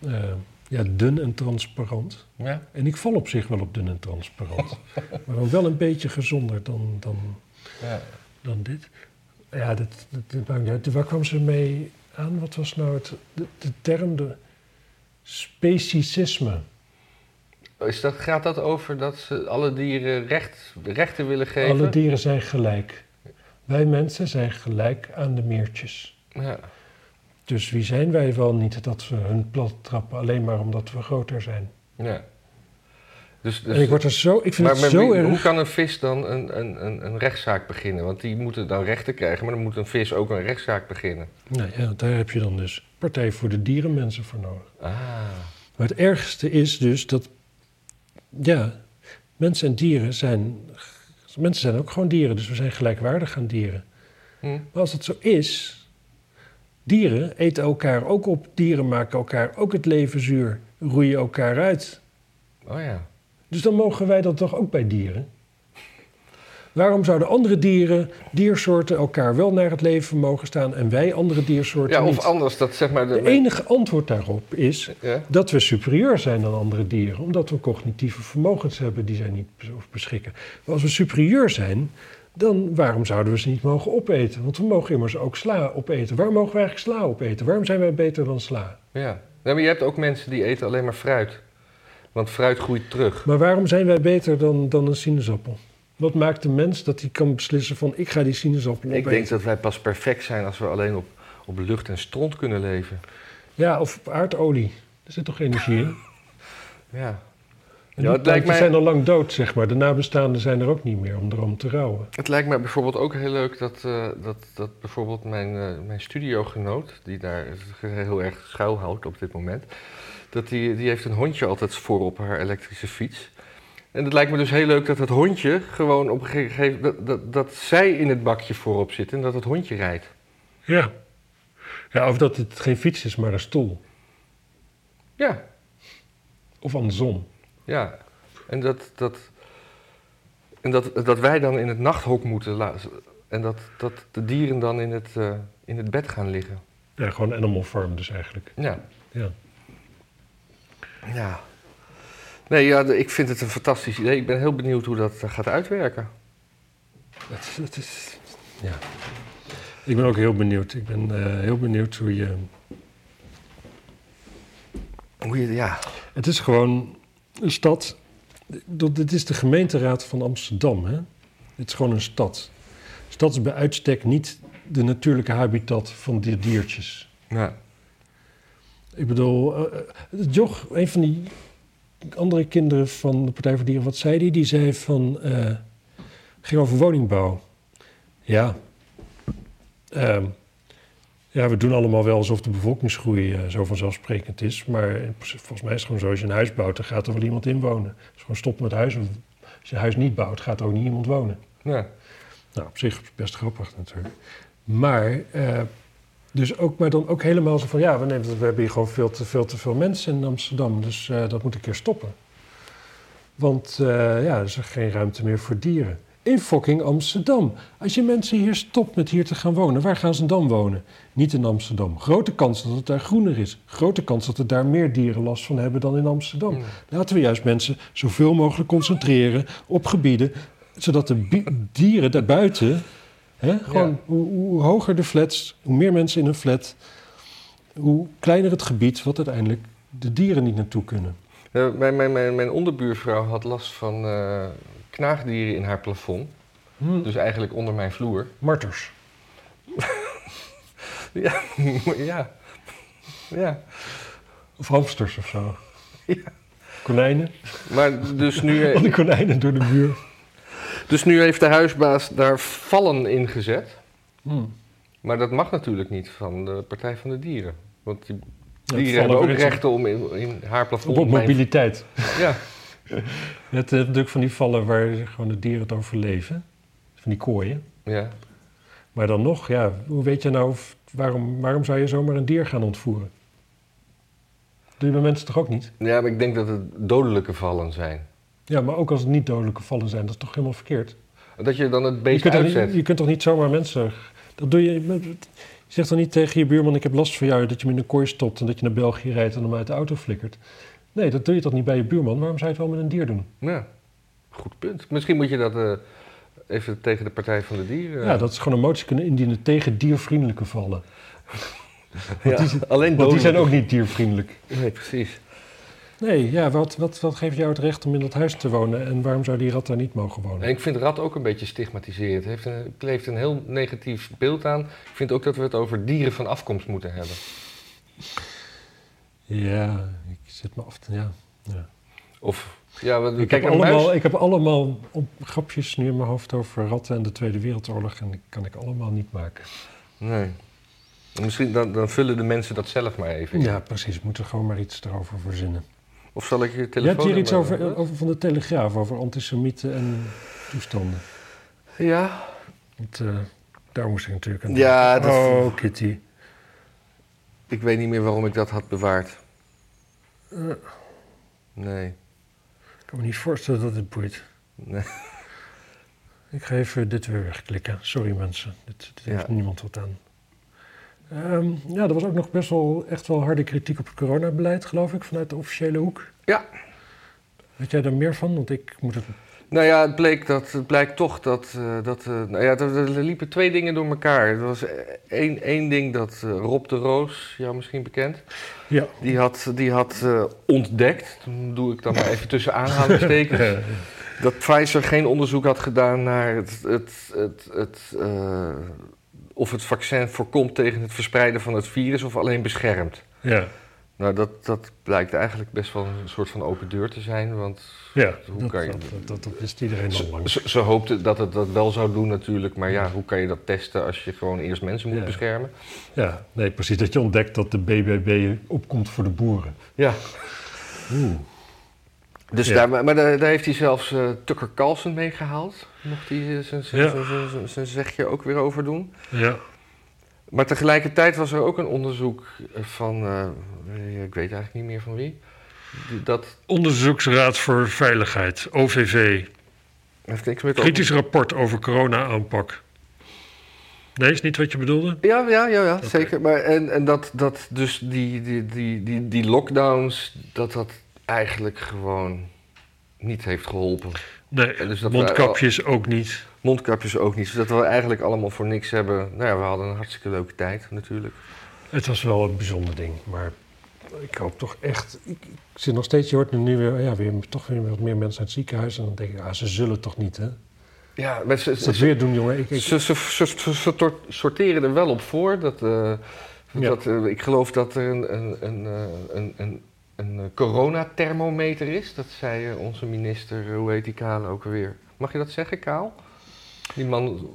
[SPEAKER 2] eh, ja, dun en transparant.
[SPEAKER 1] ja.
[SPEAKER 2] En ik val op zich wel op dun en transparant. maar dan wel een beetje gezonder dan, dan,
[SPEAKER 1] ja.
[SPEAKER 2] dan dit. Ja, dat, dat, dat maakt niet uit. Waar kwam ze mee aan? Wat was nou het, de, de term? De speciesisme.
[SPEAKER 1] Is dat, gaat dat over dat ze alle dieren recht, rechten willen geven?
[SPEAKER 2] Alle dieren zijn gelijk. Wij mensen zijn gelijk aan de meertjes.
[SPEAKER 1] Ja.
[SPEAKER 2] Dus wie zijn wij wel niet dat we hun plat trappen alleen maar omdat we groter zijn?
[SPEAKER 1] ja. Dus, dus,
[SPEAKER 2] en ik word er zo, ik vind
[SPEAKER 1] maar
[SPEAKER 2] het
[SPEAKER 1] maar
[SPEAKER 2] zo
[SPEAKER 1] wie- hoe
[SPEAKER 2] erg.
[SPEAKER 1] kan een vis dan een, een, een, een rechtszaak beginnen? Want die moeten dan rechten krijgen, maar dan moet een vis ook een rechtszaak beginnen.
[SPEAKER 2] Nou ja, daar heb je dan dus Partij voor de Dieren mensen voor nodig.
[SPEAKER 1] Ah.
[SPEAKER 2] Maar het ergste is dus dat, ja, mensen en dieren zijn, mensen zijn ook gewoon dieren, dus we zijn gelijkwaardig aan dieren.
[SPEAKER 1] Hm.
[SPEAKER 2] Maar als dat zo is, dieren eten elkaar ook op, dieren maken elkaar ook het leven zuur, roeien elkaar uit.
[SPEAKER 1] Oh ja.
[SPEAKER 2] Dus dan mogen wij dat toch ook bij dieren? Waarom zouden andere dieren, diersoorten, elkaar wel naar het leven mogen staan en wij andere diersoorten
[SPEAKER 1] Ja, of
[SPEAKER 2] niet?
[SPEAKER 1] anders, dat zeg maar...
[SPEAKER 2] De enige antwoord daarop is
[SPEAKER 1] Ja?
[SPEAKER 2] dat we superieur zijn dan andere dieren, omdat we cognitieve vermogens hebben die zij niet bes- of beschikken. Maar als we superieur zijn, dan waarom zouden we ze niet mogen opeten? Want we mogen immers ook sla opeten. Waarom mogen we eigenlijk sla opeten? Waarom zijn wij beter dan sla?
[SPEAKER 1] Ja. Nee, maar je hebt ook mensen die eten alleen maar fruit. Want fruit groeit terug.
[SPEAKER 2] Maar waarom zijn wij beter dan, dan een sinaasappel? Wat maakt de mens dat hij kan beslissen van ik ga die sinaasappel
[SPEAKER 1] Ik
[SPEAKER 2] opeten?
[SPEAKER 1] denk dat wij pas perfect zijn als we alleen op, op lucht en stront kunnen leven.
[SPEAKER 2] Ja, of op aardolie. Er zit toch energie in?
[SPEAKER 1] Ja. Ja,
[SPEAKER 2] En
[SPEAKER 1] het
[SPEAKER 2] die
[SPEAKER 1] lijkt
[SPEAKER 2] planten
[SPEAKER 1] mij-
[SPEAKER 2] zijn al lang dood, zeg maar. De nabestaanden zijn er ook niet meer om erom te rouwen.
[SPEAKER 1] Het lijkt mij bijvoorbeeld ook heel leuk dat, eh, dat, dat bijvoorbeeld mijn, eh, mijn studiogenoot, die daar heel erg schuil houdt op dit moment, dat die, die heeft een hondje altijd voor op haar elektrische fiets. En het lijkt me dus heel leuk dat het hondje gewoon op een gegeven moment, dat, dat, dat zij in het bakje voorop zit en dat het hondje rijdt.
[SPEAKER 2] Ja. ja. Of dat het geen fiets is, maar een stoel.
[SPEAKER 1] Ja,
[SPEAKER 2] Of andersom.
[SPEAKER 1] Ja, en dat, dat, en dat, dat wij dan in het nachthok moeten la- en dat, dat de dieren dan in het, eh, in het bed gaan liggen.
[SPEAKER 2] Ja, gewoon animal farm dus eigenlijk.
[SPEAKER 1] Ja.
[SPEAKER 2] Ja.
[SPEAKER 1] ja. Nee, ja, de- ik vind het een fantastisch idee. Ik ben heel benieuwd hoe dat eh, gaat uitwerken.
[SPEAKER 2] Het, het is... Ja. Ik ben ook heel benieuwd. Ik ben eh, heel benieuwd hoe je...
[SPEAKER 1] Hoe je, ja.
[SPEAKER 2] Het is gewoon een stad. Dat- Dit is de gemeenteraad van Amsterdam. Hè? Het is gewoon een stad. Stad is bij uitstek niet de natuurlijke habitat van die diertjes.
[SPEAKER 1] ja.
[SPEAKER 2] Ik bedoel, eh, eh, Joch, een van die andere kinderen van de Partij voor Dieren, wat zei die? Die zei van, eh, ging over woningbouw. Ja. Ehm, ja, we doen allemaal wel alsof de bevolkingsgroei eh, zo vanzelfsprekend is. Maar in principe- volgens mij is het gewoon zo, als je een huis bouwt, dan gaat er wel iemand in wonen. Dus gewoon stop met huizen. Als je een huis niet bouwt, gaat er ook niet iemand wonen.
[SPEAKER 1] Ja.
[SPEAKER 2] Nou, op zich best grappig natuurlijk. Maar, eh, dus ook, maar dan ook helemaal zo van... ja, we, nemen, we hebben hier gewoon veel te, veel te veel mensen in Amsterdam... dus eh, dat moet een keer stoppen. Want eh, ja, er is er geen ruimte meer voor dieren. In fucking Amsterdam. Als je mensen hier stopt met hier te gaan wonen... waar gaan ze dan wonen? Niet in Amsterdam. Grote kans dat het daar groener is. Grote kans dat er daar meer dieren last van hebben dan in Amsterdam. Laten we juist mensen zoveel mogelijk concentreren op gebieden, zodat de bi- dieren daarbuiten, hè, gewoon
[SPEAKER 1] Ja.
[SPEAKER 2] hoe, hoe hoger de flats, hoe meer mensen in een flat, hoe kleiner het gebied wat uiteindelijk de dieren niet naartoe kunnen.
[SPEAKER 1] Eh, Mijn, mijn, mijn, mijn onderbuurvrouw had last van eh, knaagdieren in haar plafond. Dus eigenlijk onder mijn vloer.
[SPEAKER 2] Marters.
[SPEAKER 1] Ja, ja. ja.
[SPEAKER 2] Of hamsters of zo.
[SPEAKER 1] Ja.
[SPEAKER 2] Konijnen.
[SPEAKER 1] Maar dus nu... eh,
[SPEAKER 2] Al die konijnen door de muur.
[SPEAKER 1] Dus nu heeft de huisbaas daar vallen in gezet.
[SPEAKER 2] Hmm.
[SPEAKER 1] Maar dat mag natuurlijk niet van de Partij van de Dieren. Want die
[SPEAKER 2] Ja,
[SPEAKER 1] dieren
[SPEAKER 2] vallen
[SPEAKER 1] hebben ook
[SPEAKER 2] weer eens
[SPEAKER 1] rechten om in, in haar
[SPEAKER 2] Op,
[SPEAKER 1] plafond...
[SPEAKER 2] op
[SPEAKER 1] mijn-
[SPEAKER 2] mobiliteit.
[SPEAKER 1] Ja,
[SPEAKER 2] Het eh, natuurlijk van die vallen waar gewoon de dieren het overleven. Van die kooien.
[SPEAKER 1] ja.
[SPEAKER 2] Maar dan nog, ja, hoe weet je nou, of, waarom, waarom zou je zomaar een dier gaan ontvoeren? Dat doen bij mensen toch ook niet?
[SPEAKER 1] ja, maar ik denk dat het dodelijke vallen zijn.
[SPEAKER 2] Ja, maar ook als het niet dodelijke vallen zijn, dat is toch helemaal verkeerd?
[SPEAKER 1] Dat je dan het
[SPEAKER 2] Je
[SPEAKER 1] beest
[SPEAKER 2] kunt, toch niet-
[SPEAKER 1] uitzet.
[SPEAKER 2] je kunt toch niet zomaar mensen... Dat doe je, je zegt toch niet tegen je buurman, ik heb last van jou, dat je me in een kooi stopt en dat je naar België rijdt en hem uit de auto flikkert. Nee, dat doe je toch niet bij je buurman? Waarom zou je het wel met een dier doen?
[SPEAKER 1] Ja, goed punt. Misschien moet je dat eh, even tegen de Partij van de Dieren...
[SPEAKER 2] Ja, dat is gewoon een motie kunnen indienen tegen diervriendelijke vallen.
[SPEAKER 1] Ja,
[SPEAKER 2] die zijn-
[SPEAKER 1] alleen
[SPEAKER 2] Want die zijn ook
[SPEAKER 1] dodelijk.
[SPEAKER 2] niet diervriendelijk.
[SPEAKER 1] Nee, precies.
[SPEAKER 2] Nee, ja, wat, wat, wat geeft jou het recht om in dat huis te wonen en waarom zou die rat daar niet mogen wonen?
[SPEAKER 1] En ik vind rat ook een beetje stigmatiserend. Het heeft een, het kleeft een heel negatief beeld aan. Ik vind ook dat we het over dieren van afkomst moeten hebben.
[SPEAKER 2] Ja, ik zit me af te... Ja. Ja.
[SPEAKER 1] Of, ja, we,
[SPEAKER 2] Ik,
[SPEAKER 1] kijk,
[SPEAKER 2] heb
[SPEAKER 1] een muis-
[SPEAKER 2] allemaal, ik heb allemaal op, grapjes nu in mijn hoofd over ratten en de Tweede Wereldoorlog en die kan ik allemaal niet maken.
[SPEAKER 1] Nee. Nou, Misschien dan, dan vullen de mensen dat zelf maar even in.
[SPEAKER 2] Ja, precies. We moeten gewoon maar iets erover verzinnen.
[SPEAKER 1] Of zal ik je
[SPEAKER 2] Je
[SPEAKER 1] telefoon...
[SPEAKER 2] hebt hier iets over, eh, oh. over van de Telegraaf, over antisemieten en toestanden.
[SPEAKER 1] Ja.
[SPEAKER 2] Want eh, daar moest ik natuurlijk aan
[SPEAKER 1] Ja,
[SPEAKER 2] denken.
[SPEAKER 1] dat is-
[SPEAKER 2] Oh, Kitty.
[SPEAKER 1] Ik weet niet meer waarom ik dat had bewaard.
[SPEAKER 2] Eh.
[SPEAKER 1] Nee.
[SPEAKER 2] Ik kan me niet voorstellen dat het boeit.
[SPEAKER 1] Nee.
[SPEAKER 2] Ik ga even dit weer wegklikken. Sorry mensen, dit, dit
[SPEAKER 1] Ja.
[SPEAKER 2] heeft niemand wat aan. Ehm, ja, er was ook nog best wel echt wel harde kritiek op het coronabeleid, geloof ik, vanuit de officiële hoek.
[SPEAKER 1] Ja.
[SPEAKER 2] Weet jij daar meer van? Want ik moet het.
[SPEAKER 1] Nou ja, het, bleek dat, het blijkt toch dat... eh, dat eh, nou ja, er, er liepen twee dingen door elkaar. Er was eh, één, één ding dat eh, Rob de Roos, jou misschien bekend...
[SPEAKER 2] Ja.
[SPEAKER 1] die had, die had eh, ontdekt... Toen doe ik dan maar even tussen aanhalingstekens... dat Pfizer geen onderzoek had gedaan naar het, het, het, het, eh, of het vaccin voorkomt tegen het verspreiden van het virus of alleen beschermt.
[SPEAKER 2] ja,
[SPEAKER 1] Nou, dat, dat blijkt eigenlijk best wel een soort van open deur te zijn, want
[SPEAKER 2] ja.
[SPEAKER 1] Hoe
[SPEAKER 2] dat,
[SPEAKER 1] kan je-
[SPEAKER 2] dat, dat, dat, dat wist iedereen al lang.
[SPEAKER 1] ze, ze hoopten dat het dat wel zou doen natuurlijk, maar ja, hoe kan je dat testen als je gewoon eerst mensen moet
[SPEAKER 2] Ja.
[SPEAKER 1] beschermen?
[SPEAKER 2] Ja, nee, precies. Dat je ontdekt dat de BBB opkomt voor de boeren.
[SPEAKER 1] Ja,
[SPEAKER 2] Oeh.
[SPEAKER 1] dus
[SPEAKER 2] Ja.
[SPEAKER 1] Daar, maar daar, daar heeft hij zelfs eh, Tucker Carlson mee gehaald. Mocht hij eh, zijn- zijn-
[SPEAKER 2] Ja.
[SPEAKER 1] zijn- zijn- zijn zegje ook weer over doen.
[SPEAKER 2] Ja.
[SPEAKER 1] Maar tegelijkertijd was er ook een onderzoek eh, van, eh, ik weet eigenlijk niet meer van wie, die- dat
[SPEAKER 2] Onderzoeksraad voor Veiligheid, OVV,
[SPEAKER 1] heeft niks met...
[SPEAKER 2] Kritisch rapport over corona-aanpak. Nee, is niet wat je bedoelde?
[SPEAKER 1] Ja, ja, ja, ja zeker. Maar en, en dat, dat dus die, die, die, die, die lockdowns, dat dat eigenlijk gewoon niet heeft geholpen.
[SPEAKER 2] Nee,
[SPEAKER 1] En dus dat we-
[SPEAKER 2] mondkapjes ook niet.
[SPEAKER 1] Mondkapjes ook niet, zodat we eigenlijk allemaal voor niks hebben. Nou ja, we hadden een hartstikke leuke tijd natuurlijk.
[SPEAKER 2] Het was wel een bijzonder ding, maar ik hoop toch echt... Ik, ik zit nog steeds, je hoort nu weer, ja, weer, toch weer wat meer mensen uit het ziekenhuis... en dan denk ik, ah, ze zullen toch niet, hè?
[SPEAKER 1] Ja, maar ze,
[SPEAKER 2] Als ze
[SPEAKER 1] ze,
[SPEAKER 2] dat weer doen, jongen, ik... ik-
[SPEAKER 1] ze, ze, ze- ze- ze tor- sorteren er wel op voor. Dat, eh,
[SPEAKER 2] Ja.
[SPEAKER 1] dat, eh, ik geloof dat er een, een, een, eh, een, een, een eh, coronathermometer is. Dat zei eh, onze minister, eh, hoe heet die Kaal ook alweer? Mag je dat zeggen, Kaal? Die man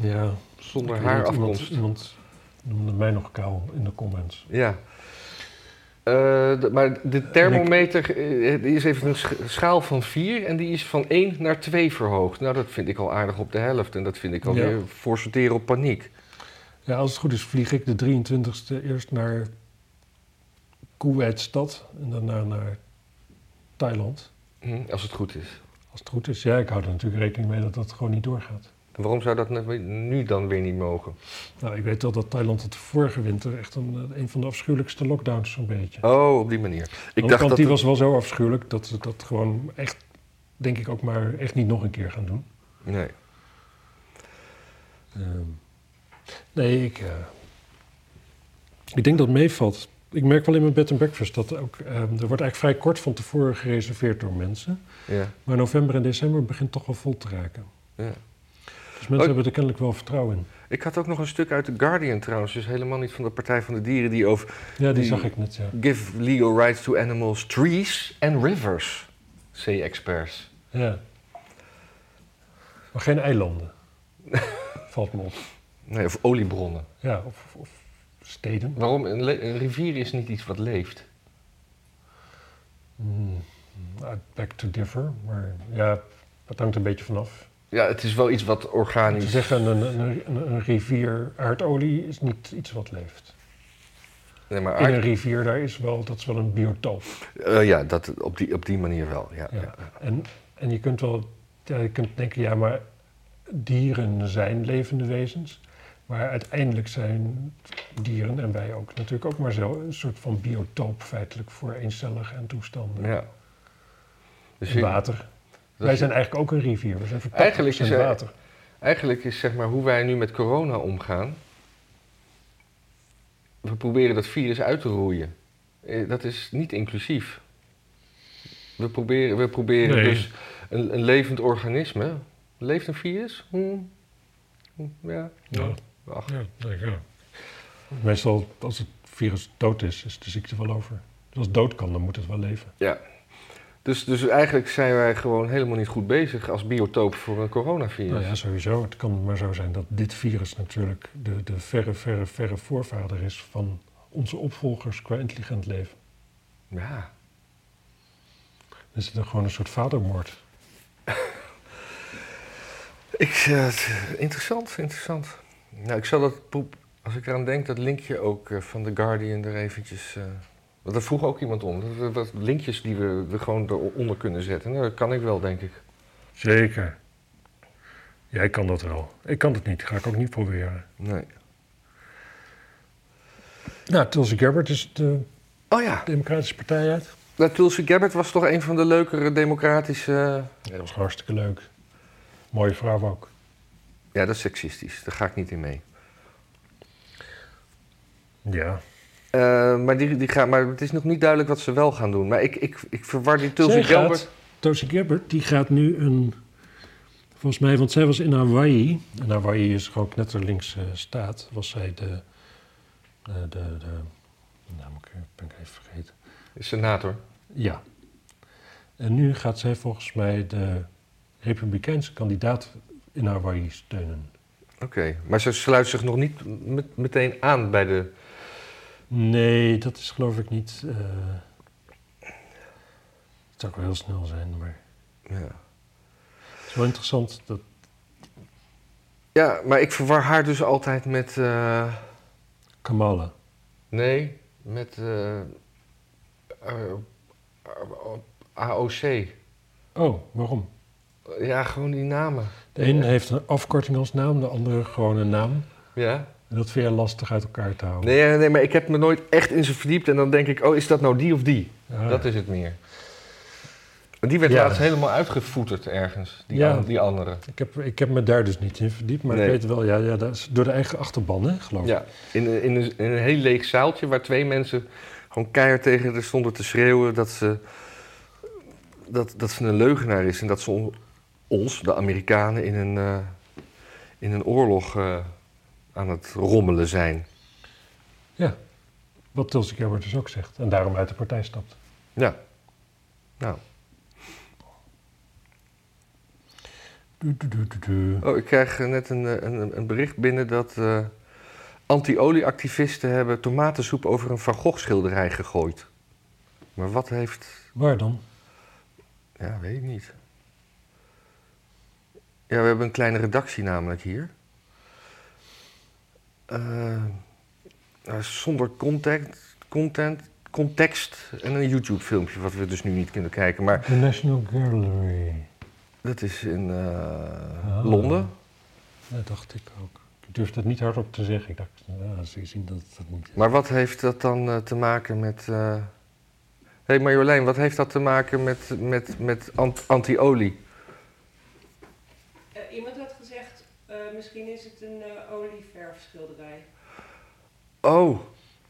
[SPEAKER 2] ja,
[SPEAKER 1] zonder
[SPEAKER 2] ik weet
[SPEAKER 1] haar
[SPEAKER 2] niet, iemand,
[SPEAKER 1] afkomst.
[SPEAKER 2] iemand noemde mij nog kaal in de comments.
[SPEAKER 1] Ja. Eh, d- maar de thermometer eh, die is even een sch- schaal van 4 en die is van 1 naar 2 verhoogd. Nou, dat vind ik al aardig op de helft en dat vind ik alweer
[SPEAKER 2] Ja.
[SPEAKER 1] voor sorteren op paniek.
[SPEAKER 2] Ja, als het goed is vlieg ik de 23e eerst naar Kuwaitstad en daarna naar Thailand.
[SPEAKER 1] Hm, als het goed is.
[SPEAKER 2] Als het goed is, ja, ik hou er natuurlijk rekening mee dat dat gewoon niet doorgaat.
[SPEAKER 1] En waarom zou dat nu- nu dan weer niet mogen?
[SPEAKER 2] Nou, ik weet wel dat Thailand het vorige winter echt een, eh, een van de afschuwelijkste lockdowns zo'n beetje.
[SPEAKER 1] Oh, op die manier.
[SPEAKER 2] Ik
[SPEAKER 1] Ik dacht
[SPEAKER 2] kant,
[SPEAKER 1] dat...
[SPEAKER 2] die
[SPEAKER 1] het-
[SPEAKER 2] was wel zo afschuwelijk dat ze dat gewoon echt, denk ik ook maar, echt niet nog een keer gaan doen.
[SPEAKER 1] Nee. Ehm.
[SPEAKER 2] nee, ik, eh, ik denk dat het meevalt. Ik merk wel in mijn bed and breakfast dat ook, eh, er wordt eigenlijk vrij kort van tevoren gereserveerd door mensen.
[SPEAKER 1] Ja.
[SPEAKER 2] Maar november en december begint toch wel vol te raken.
[SPEAKER 1] ja.
[SPEAKER 2] Dus mensen
[SPEAKER 1] Ook-
[SPEAKER 2] hebben er kennelijk wel vertrouwen in.
[SPEAKER 1] Ik had ook nog een stuk uit The Guardian trouwens, dus helemaal niet van de Partij van de Dieren, die over
[SPEAKER 2] Ja, die,
[SPEAKER 1] Die-
[SPEAKER 2] zag ik net, ja.
[SPEAKER 1] Give Legal Rights to Animals, Trees and Rivers, say experts.
[SPEAKER 2] ja. Maar geen eilanden. Valt me op.
[SPEAKER 1] Nee, of oliebronnen.
[SPEAKER 2] Ja, of, of, of steden.
[SPEAKER 1] Waarom? Een, le- een rivier is niet iets wat leeft.
[SPEAKER 2] Hmm. I beg to differ, maar ja, dat hangt een beetje vanaf.
[SPEAKER 1] Ja, het is wel iets wat
[SPEAKER 2] Te
[SPEAKER 1] organisch...
[SPEAKER 2] zeggen, een, een, een, een rivier aardolie is niet iets wat leeft.
[SPEAKER 1] Nee, maar
[SPEAKER 2] In
[SPEAKER 1] aard-
[SPEAKER 2] een rivier, daar is wel, dat is wel een biotoop.
[SPEAKER 1] Eh, ja, dat, op, die, op die manier wel. Ja.
[SPEAKER 2] Ja. En, en je kunt wel ja, je kunt denken, ja, maar dieren zijn levende wezens. Maar uiteindelijk zijn dieren en wij ook natuurlijk ook maar zo een soort van biotoop feitelijk voor eencellige en toestanden.
[SPEAKER 1] Ja. Dus
[SPEAKER 2] En
[SPEAKER 1] je-
[SPEAKER 2] water.
[SPEAKER 1] dat
[SPEAKER 2] Wij
[SPEAKER 1] je-
[SPEAKER 2] zijn eigenlijk ook een rivier. We zijn verpakt
[SPEAKER 1] Eigenlijk
[SPEAKER 2] in
[SPEAKER 1] is er-
[SPEAKER 2] water.
[SPEAKER 1] Eigenlijk is zeg maar hoe wij nu met corona omgaan. We proberen dat virus uit te roeien. Eh, Dat is niet inclusief. We proberen, we proberen
[SPEAKER 2] Nee.
[SPEAKER 1] dus een, een levend organisme. Leeft een virus? Hm. Hm, Ja.
[SPEAKER 2] Ja.
[SPEAKER 1] Ach,
[SPEAKER 2] Ja, denk ik, ja. Meestal als het virus dood is, is de ziekte wel over. Dus als het dood kan, dan moet het wel leven.
[SPEAKER 1] ja. Dus, dus eigenlijk zijn wij gewoon helemaal niet goed bezig als biotoop voor een coronavirus.
[SPEAKER 2] Nou ja, sowieso. Het kan maar zo zijn dat dit virus natuurlijk de, de verre, verre, verre voorvader is van onze opvolgers qua intelligent leven.
[SPEAKER 1] Ja.
[SPEAKER 2] Dan is het dan gewoon een soort vadermoord.
[SPEAKER 1] Ik, eh, het- interessant, interessant. Nou, ik zal dat poep, als ik eraan denk, dat linkje ook eh, van The Guardian er eventjes... eh, want daar vroeg ook iemand om. Dat, dat- dat linkjes die we, we gewoon eronder kunnen zetten. Nou, dat kan ik wel, denk ik.
[SPEAKER 2] Zeker. Jij kan dat wel. Ik kan dat niet. Ga ik ook niet proberen.
[SPEAKER 1] Nee.
[SPEAKER 2] Nou, Tulsi Gabbard is de
[SPEAKER 1] Oh ja,
[SPEAKER 2] Democratische Partij uit.
[SPEAKER 1] nou, Tulsi Gabbard was toch een van de leukere democratische...
[SPEAKER 2] Ja, dat was hartstikke leuk. Mooie vrouw ook.
[SPEAKER 1] Ja, dat is seksistisch. Daar ga ik niet in mee.
[SPEAKER 2] Ja.
[SPEAKER 1] Eh, maar, die, die gaan, maar het is nog niet duidelijk wat ze wel gaan doen. Maar ik, ik, ik verwar die Tulsi
[SPEAKER 2] Zij gaat-
[SPEAKER 1] Gabbard...
[SPEAKER 2] Tulsi Gabbard, die gaat nu een... Volgens mij, want zij was in Hawaii. En Hawaii is gewoon knetterlinks eh staat. Was zij de... de, de, de nou, moet ik, ben ik even vergeten.
[SPEAKER 1] Senator.
[SPEAKER 2] Ja. En nu gaat zij volgens mij de republikeinse kandidaat in Hawaii steunen.
[SPEAKER 1] Oké, maar ze sluit zich nog niet met- meteen aan bij de...
[SPEAKER 2] Nee, dat is geloof ik niet... eh het zou ook wel heel snel zijn, maar...
[SPEAKER 1] Ja.
[SPEAKER 2] Het is wel interessant dat...
[SPEAKER 1] Ja, maar ik verwar haar dus altijd met. eh,
[SPEAKER 2] Kamala.
[SPEAKER 1] nee, met. eh, eh, eh, AOC.
[SPEAKER 2] Oh, waarom?
[SPEAKER 1] Ja, gewoon die namen.
[SPEAKER 2] De een heeft een afkorting als naam, de andere gewoon een naam.
[SPEAKER 1] Ja?
[SPEAKER 2] En dat vind je lastig uit elkaar te houden.
[SPEAKER 1] Nee, nee, maar ik heb me nooit echt in ze verdiept. En dan denk ik, oh, is dat nou die of die?
[SPEAKER 2] Ah,
[SPEAKER 1] Dat is het meer. Die werd
[SPEAKER 2] Ja.
[SPEAKER 1] laatst helemaal uitgevoeterd ergens, die,
[SPEAKER 2] Ja.
[SPEAKER 1] an- die andere.
[SPEAKER 2] ik, heb, ik heb me daar dus niet in verdiept, maar ik
[SPEAKER 1] Nee.
[SPEAKER 2] weet wel, ja, ja, dat is door de eigen achterban, hè, geloof ik.
[SPEAKER 1] Ja, in, een- in, een, in een heel leeg zaaltje waar twee mensen gewoon keihard tegen haar stonden te schreeuwen dat ze, dat, dat ze een leugenaar is en dat ze on- ons, de Amerikanen, in een, eh, in een oorlog eh, aan het rommelen zijn.
[SPEAKER 2] Ja. Wat Tulsi Gabbard dus ook zegt. En daarom uit de partij stapt.
[SPEAKER 1] Ja. Nou,
[SPEAKER 2] Du, du, du, du, du.
[SPEAKER 1] oh, ik krijg eh, net een, eh, een, een bericht binnen dat eh anti-olieactivisten hebben tomatensoep over een Van Gogh schilderij gegooid. Maar wat heeft
[SPEAKER 2] Waar dan?
[SPEAKER 1] Ja, weet ik niet. Ja, we hebben een kleine redactie namelijk hier. Eh, eh, zonder contact, content, context en een YouTube-filmpje, wat we dus nu niet kunnen kijken. Maar
[SPEAKER 2] De National Gallery.
[SPEAKER 1] dat is in eh,
[SPEAKER 2] Ah.
[SPEAKER 1] Londen.
[SPEAKER 2] Dat dacht ik ook. Ik durf dat niet hardop te zeggen. Ik dacht, ja, ze zien dat het dat niet is.
[SPEAKER 1] Maar wat heeft dat dan eh, te maken met... eh, Hé hey Marjolein, wat heeft dat te maken met, met, met ant- anti-olie?
[SPEAKER 3] Eh, iemand had gezegd, eh, misschien is het een eh, olieverfschilderij.
[SPEAKER 1] Oh,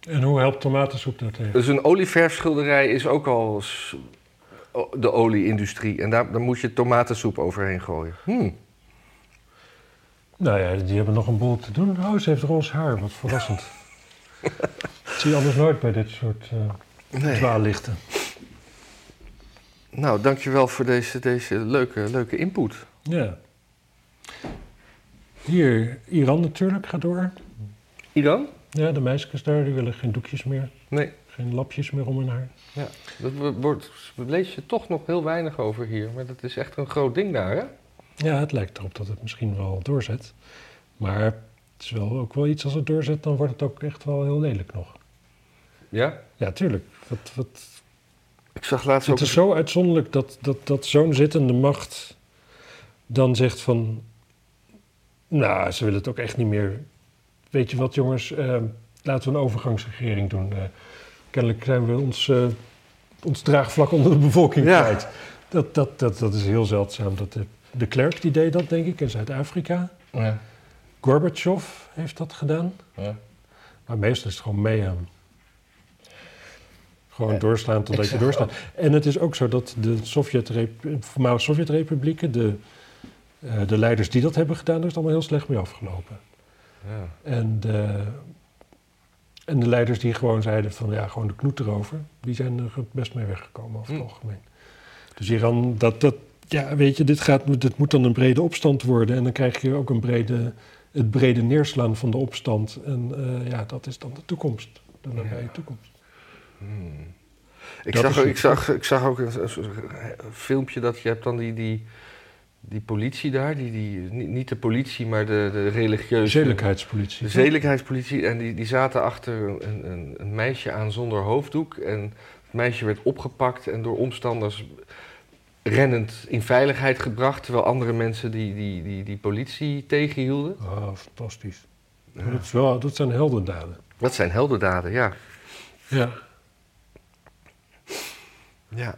[SPEAKER 2] En hoe helpt tomatensoep daartegen?
[SPEAKER 1] Dus een olieverfschilderij is ook al s- o- de olieindustrie. En daar, daar moet je tomatensoep overheen gooien. Hmm.
[SPEAKER 2] Nou ja, die hebben nog een boel te doen. Oh, ze heeft roze haar. Wat verrassend. dat zie je anders nooit bij dit soort... eh, Dwaallichten.
[SPEAKER 1] Nou, dankjewel voor deze, deze leuke, leuke input.
[SPEAKER 2] Ja. Hier, Iran natuurlijk, gaat door.
[SPEAKER 1] Iran?
[SPEAKER 2] Ja, de meisjes daar, die willen geen doekjes meer,
[SPEAKER 1] Nee,
[SPEAKER 2] geen lapjes meer om hun haar.
[SPEAKER 1] dat wo- wordt, lees je toch nog heel weinig over hier. Maar dat is echt een groot ding daar, hè?
[SPEAKER 2] Ja, het lijkt erop dat het misschien wel doorzet. Maar het is wel ook wel iets als het doorzet, dan wordt het ook echt wel heel lelijk nog.
[SPEAKER 1] Ja?
[SPEAKER 2] Ja, tuurlijk. Wat, wat,
[SPEAKER 1] Ik zag laatst ook...
[SPEAKER 2] het is zo uitzonderlijk dat, dat, dat zo'n zittende macht dan zegt van... Nou, ze willen het ook echt niet meer. Weet je wat, jongens? eh, laten we een overgangsregering doen. Eh, kennelijk zijn we ons, eh, ons draagvlak onder de bevolking
[SPEAKER 1] Ja.
[SPEAKER 2] kwijt. Dat, dat, dat, dat is heel zeldzaam. Dat de, de Klerk die deed dat, denk ik, in Zuid-Afrika.
[SPEAKER 1] Ja.
[SPEAKER 2] Gorbachev heeft dat gedaan.
[SPEAKER 1] Ja.
[SPEAKER 2] Maar meestal is het gewoon meehem. Gewoon
[SPEAKER 1] Ja,
[SPEAKER 2] doorslaan totdat
[SPEAKER 1] Eh, ik
[SPEAKER 2] je
[SPEAKER 1] zeg
[SPEAKER 2] doorslaat. En het is ook zo dat de Sovjetrep- voormalige Sovjetrepublieken, de, eh, de leiders die dat hebben gedaan, daar is het allemaal heel slecht mee afgelopen.
[SPEAKER 1] Ja.
[SPEAKER 2] En de, en de leiders die gewoon zeiden van ja, gewoon de knoet erover, die zijn er best mee weggekomen over het
[SPEAKER 1] Hm.
[SPEAKER 2] algemeen. Dus Iran, dat, dat, ja, weet je, dit, gaat, dit moet dan een brede opstand worden. En dan krijg je ook een brede, het brede neerslaan van de opstand. En eh, ja, dat is dan de toekomst. De nabije
[SPEAKER 1] Ja.
[SPEAKER 2] toekomst.
[SPEAKER 1] Hmm. Ik,
[SPEAKER 2] Dat
[SPEAKER 1] zag,
[SPEAKER 2] is
[SPEAKER 1] ook-
[SPEAKER 2] het.
[SPEAKER 1] ik, zag, ik zag ook een, een- een filmpje dat je hebt dan die, die, die politie daar, die, die, niet- niet de politie, maar de, de
[SPEAKER 2] Dus, eh,
[SPEAKER 1] religieuze...
[SPEAKER 2] Zedelijkheidspolitie.
[SPEAKER 1] De zedelijkheidspolitie. En die, die zaten achter een, een, een meisje aan zonder hoofddoek. En het meisje werd opgepakt en door omstanders rennend in veiligheid gebracht. Terwijl andere mensen die, die, die, die politie tegenhielden.
[SPEAKER 2] Ah, fantastisch. Dat, is wel, dat zijn heldendaden.
[SPEAKER 1] Dat zijn heldendaden, ja.
[SPEAKER 2] Ja.
[SPEAKER 1] Ja.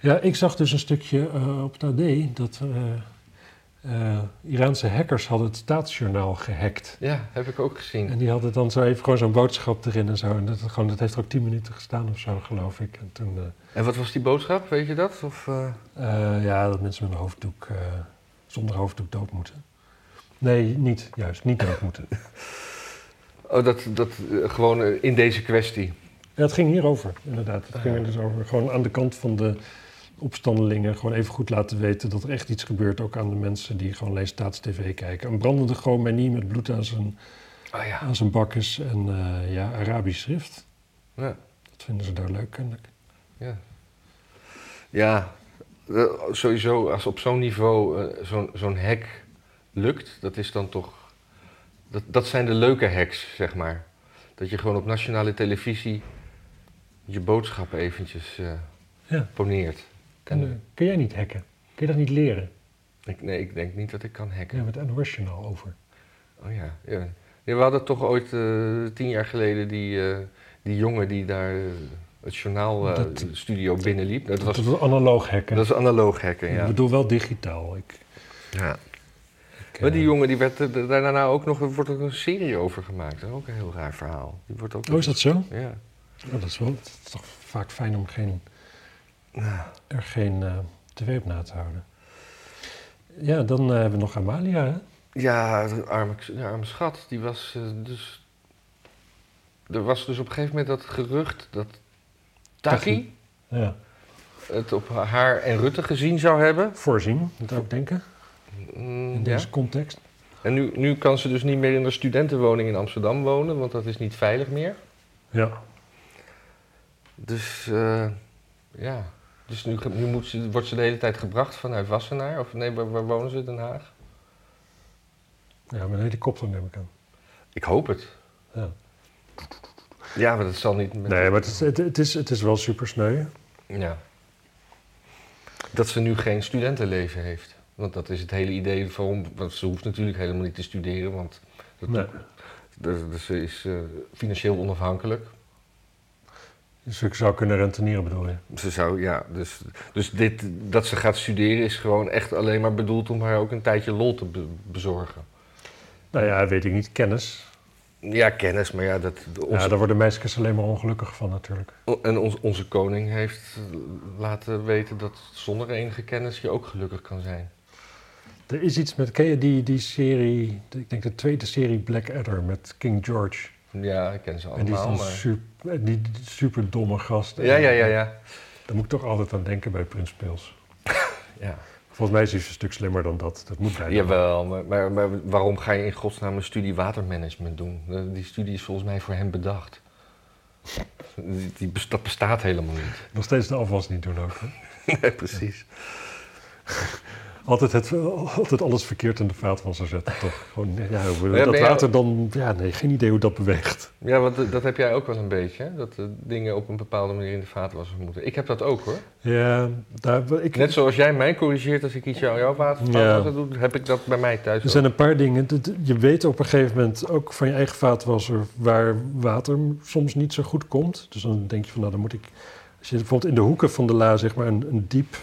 [SPEAKER 2] Ja, ik zag dus een stukje eh, op het AD dat eh, eh, Iraanse hackers hadden het staatsjournaal gehackt.
[SPEAKER 1] ja, heb ik ook gezien.
[SPEAKER 2] En die hadden dan zo even gewoon zo'n boodschap erin en zo. En dat, gewoon, dat heeft er ook tien minuten gestaan of zo, geloof ik. En toen,
[SPEAKER 1] En wat was die boodschap, weet je dat? Of, eh,
[SPEAKER 2] eh, eh, ja, dat mensen met een hoofddoek, eh, zonder hoofddoek dood moeten. Nee, niet, juist, niet dood moeten.
[SPEAKER 1] Oh, dat, dat eh, gewoon eh, in deze kwestie.
[SPEAKER 2] Ja, het ging hierover, inderdaad. Het ging er dus over gewoon aan de kant van de opstandelingen gewoon even goed laten weten dat er echt iets gebeurt. Ook aan de mensen die gewoon alleen staatstv kijken. Een brandende chromonie met bloed aan zijn,
[SPEAKER 1] Oh ja.
[SPEAKER 2] aan zijn bakkes en eh, ja, Arabisch schrift.
[SPEAKER 1] Ja.
[SPEAKER 2] Dat vinden ze daar leuk, kennelijk.
[SPEAKER 1] Ja. Ja, eh, sowieso als op zo'n niveau eh, zo'n zo'n hack lukt, dat is dan toch. Dat, dat zijn de leuke hacks, zeg maar. Dat je gewoon op nationale televisie je boodschap eventjes eh,
[SPEAKER 2] Ja.
[SPEAKER 1] poneert.
[SPEAKER 2] Kan, eh, kun jij niet hacken? Kun je dat niet leren?
[SPEAKER 1] Ik, nee, ik denk niet dat ik kan hacken.
[SPEAKER 2] Ja, met NOS-journaal over.
[SPEAKER 1] Oh ja, ja. Ja, We hadden toch ooit eh, tien jaar geleden die, eh, die jongen die daar eh, het journaal eh,
[SPEAKER 2] Dat-
[SPEAKER 1] studio binnenliep. Dat was,
[SPEAKER 2] Dat is analoog hacken.
[SPEAKER 1] dat is analoog hacken,
[SPEAKER 2] Ik
[SPEAKER 1] ja.
[SPEAKER 2] bedoel wel digitaal. Ik,
[SPEAKER 1] ja.
[SPEAKER 2] ik,
[SPEAKER 1] Maar die
[SPEAKER 2] eh,
[SPEAKER 1] jongen die werd eh, daar- daarna ook nog, er wordt ook een serie over gemaakt. Dat is ook een heel raar verhaal. Die wordt ook
[SPEAKER 2] Oh, is dat zo?
[SPEAKER 1] Ja.
[SPEAKER 2] Ja, dat is wel dat is toch vaak fijn om geen, er geen eh, tv op na te houden. Ja, dan eh, hebben we nog Amalia. Hè?
[SPEAKER 1] Ja, de arme, de arme schat, die was eh, dus... Er was dus op een gegeven moment dat gerucht dat Taki
[SPEAKER 2] Taghi. Ja.
[SPEAKER 1] het op haar en Rutte gezien zou hebben.
[SPEAKER 2] Voorzien, moet ook denken.
[SPEAKER 1] Mm,
[SPEAKER 2] In
[SPEAKER 1] ja.
[SPEAKER 2] deze context.
[SPEAKER 1] En nu, nu kan ze dus niet meer in de studentenwoning in Amsterdam wonen, want dat is niet veilig meer.
[SPEAKER 2] Ja.
[SPEAKER 1] Dus eh, ja, dus nu, ge- nu moet ze, wordt ze de hele tijd gebracht vanuit Wassenaar. Of nee, waar, waar wonen ze? Den Haag?
[SPEAKER 2] ja, met een helikopter neem ik aan.
[SPEAKER 1] Ik hoop het.
[SPEAKER 2] Ja.
[SPEAKER 1] Ja, maar dat zal niet. Met...
[SPEAKER 2] Nee, maar het is, het, het is, het is wel super sneu.
[SPEAKER 1] Ja. Dat ze nu geen studentenleven heeft. Want dat is het hele idee van. Want ze hoeft natuurlijk helemaal niet te studeren, want dat,
[SPEAKER 2] Nee.
[SPEAKER 1] dat- dat ze is eh, financieel onafhankelijk.
[SPEAKER 2] Dus ik zou kunnen rentenieren, bedoel je?
[SPEAKER 1] Ze zou, ja, dus, dus dit, dat ze gaat studeren is gewoon echt alleen maar bedoeld om haar ook een tijdje lol te be- bezorgen.
[SPEAKER 2] Nou ja, weet ik niet. Kennis.
[SPEAKER 1] Ja, kennis, maar ja, dat, onze,
[SPEAKER 2] Ja, daar worden meisjes alleen maar ongelukkig van natuurlijk.
[SPEAKER 1] en ons- onze koning heeft eh, laten weten dat zonder enige kennis je ook gelukkig kan zijn.
[SPEAKER 2] Er is iets met, ken je die, die serie, de- ik denk de tweede serie Blackadder met King George.
[SPEAKER 1] Ja, ik ken ze
[SPEAKER 2] en die is
[SPEAKER 1] allemaal.
[SPEAKER 2] dan
[SPEAKER 1] maar...
[SPEAKER 2] super, die, die super domme gast.
[SPEAKER 1] Ja, ja, ja, ja.
[SPEAKER 2] Daar moet ik toch altijd aan denken bij Prins Pils.
[SPEAKER 1] ja.
[SPEAKER 2] Volgens mij is hij een stuk slimmer dan dat. Dat moet bijna.
[SPEAKER 1] Jawel, maar, maar, maar waarom ga je in godsnaam een studie watermanagement doen? Eh, Die studie is volgens mij voor hem bedacht. Die, die bes- dat bestaat helemaal niet.
[SPEAKER 2] Nog steeds de afwas niet doen ook. hè?
[SPEAKER 1] Nee, precies.
[SPEAKER 2] Altijd, het, eh, altijd alles verkeerd in de vaatwasser zetten, toch? Gewoon, ja, hoe-
[SPEAKER 1] Ja,
[SPEAKER 2] dat
[SPEAKER 1] ben je-
[SPEAKER 2] water dan... Ja, nee, geen idee hoe dat beweegt.
[SPEAKER 1] Ja, want eh, dat heb jij ook wel een beetje. hè? Dat eh, dingen op een bepaalde manier in de vaatwasser moeten. Ik heb dat ook hoor.
[SPEAKER 2] Ja, daar, ik,
[SPEAKER 1] Net zoals jij mij corrigeert als ik iets aan jouw water-
[SPEAKER 2] Ja. Dus
[SPEAKER 1] vaatwasser doe, heb ik dat bij mij thuis
[SPEAKER 2] Er
[SPEAKER 1] ook.
[SPEAKER 2] zijn een paar dingen. Dat- Je weet op een gegeven moment ook van je eigen vaatwasser waar water soms niet zo goed komt. Dus dan denk je van nou, dan moet ik. Als je bijvoorbeeld in de hoeken van de la zeg maar een, een diep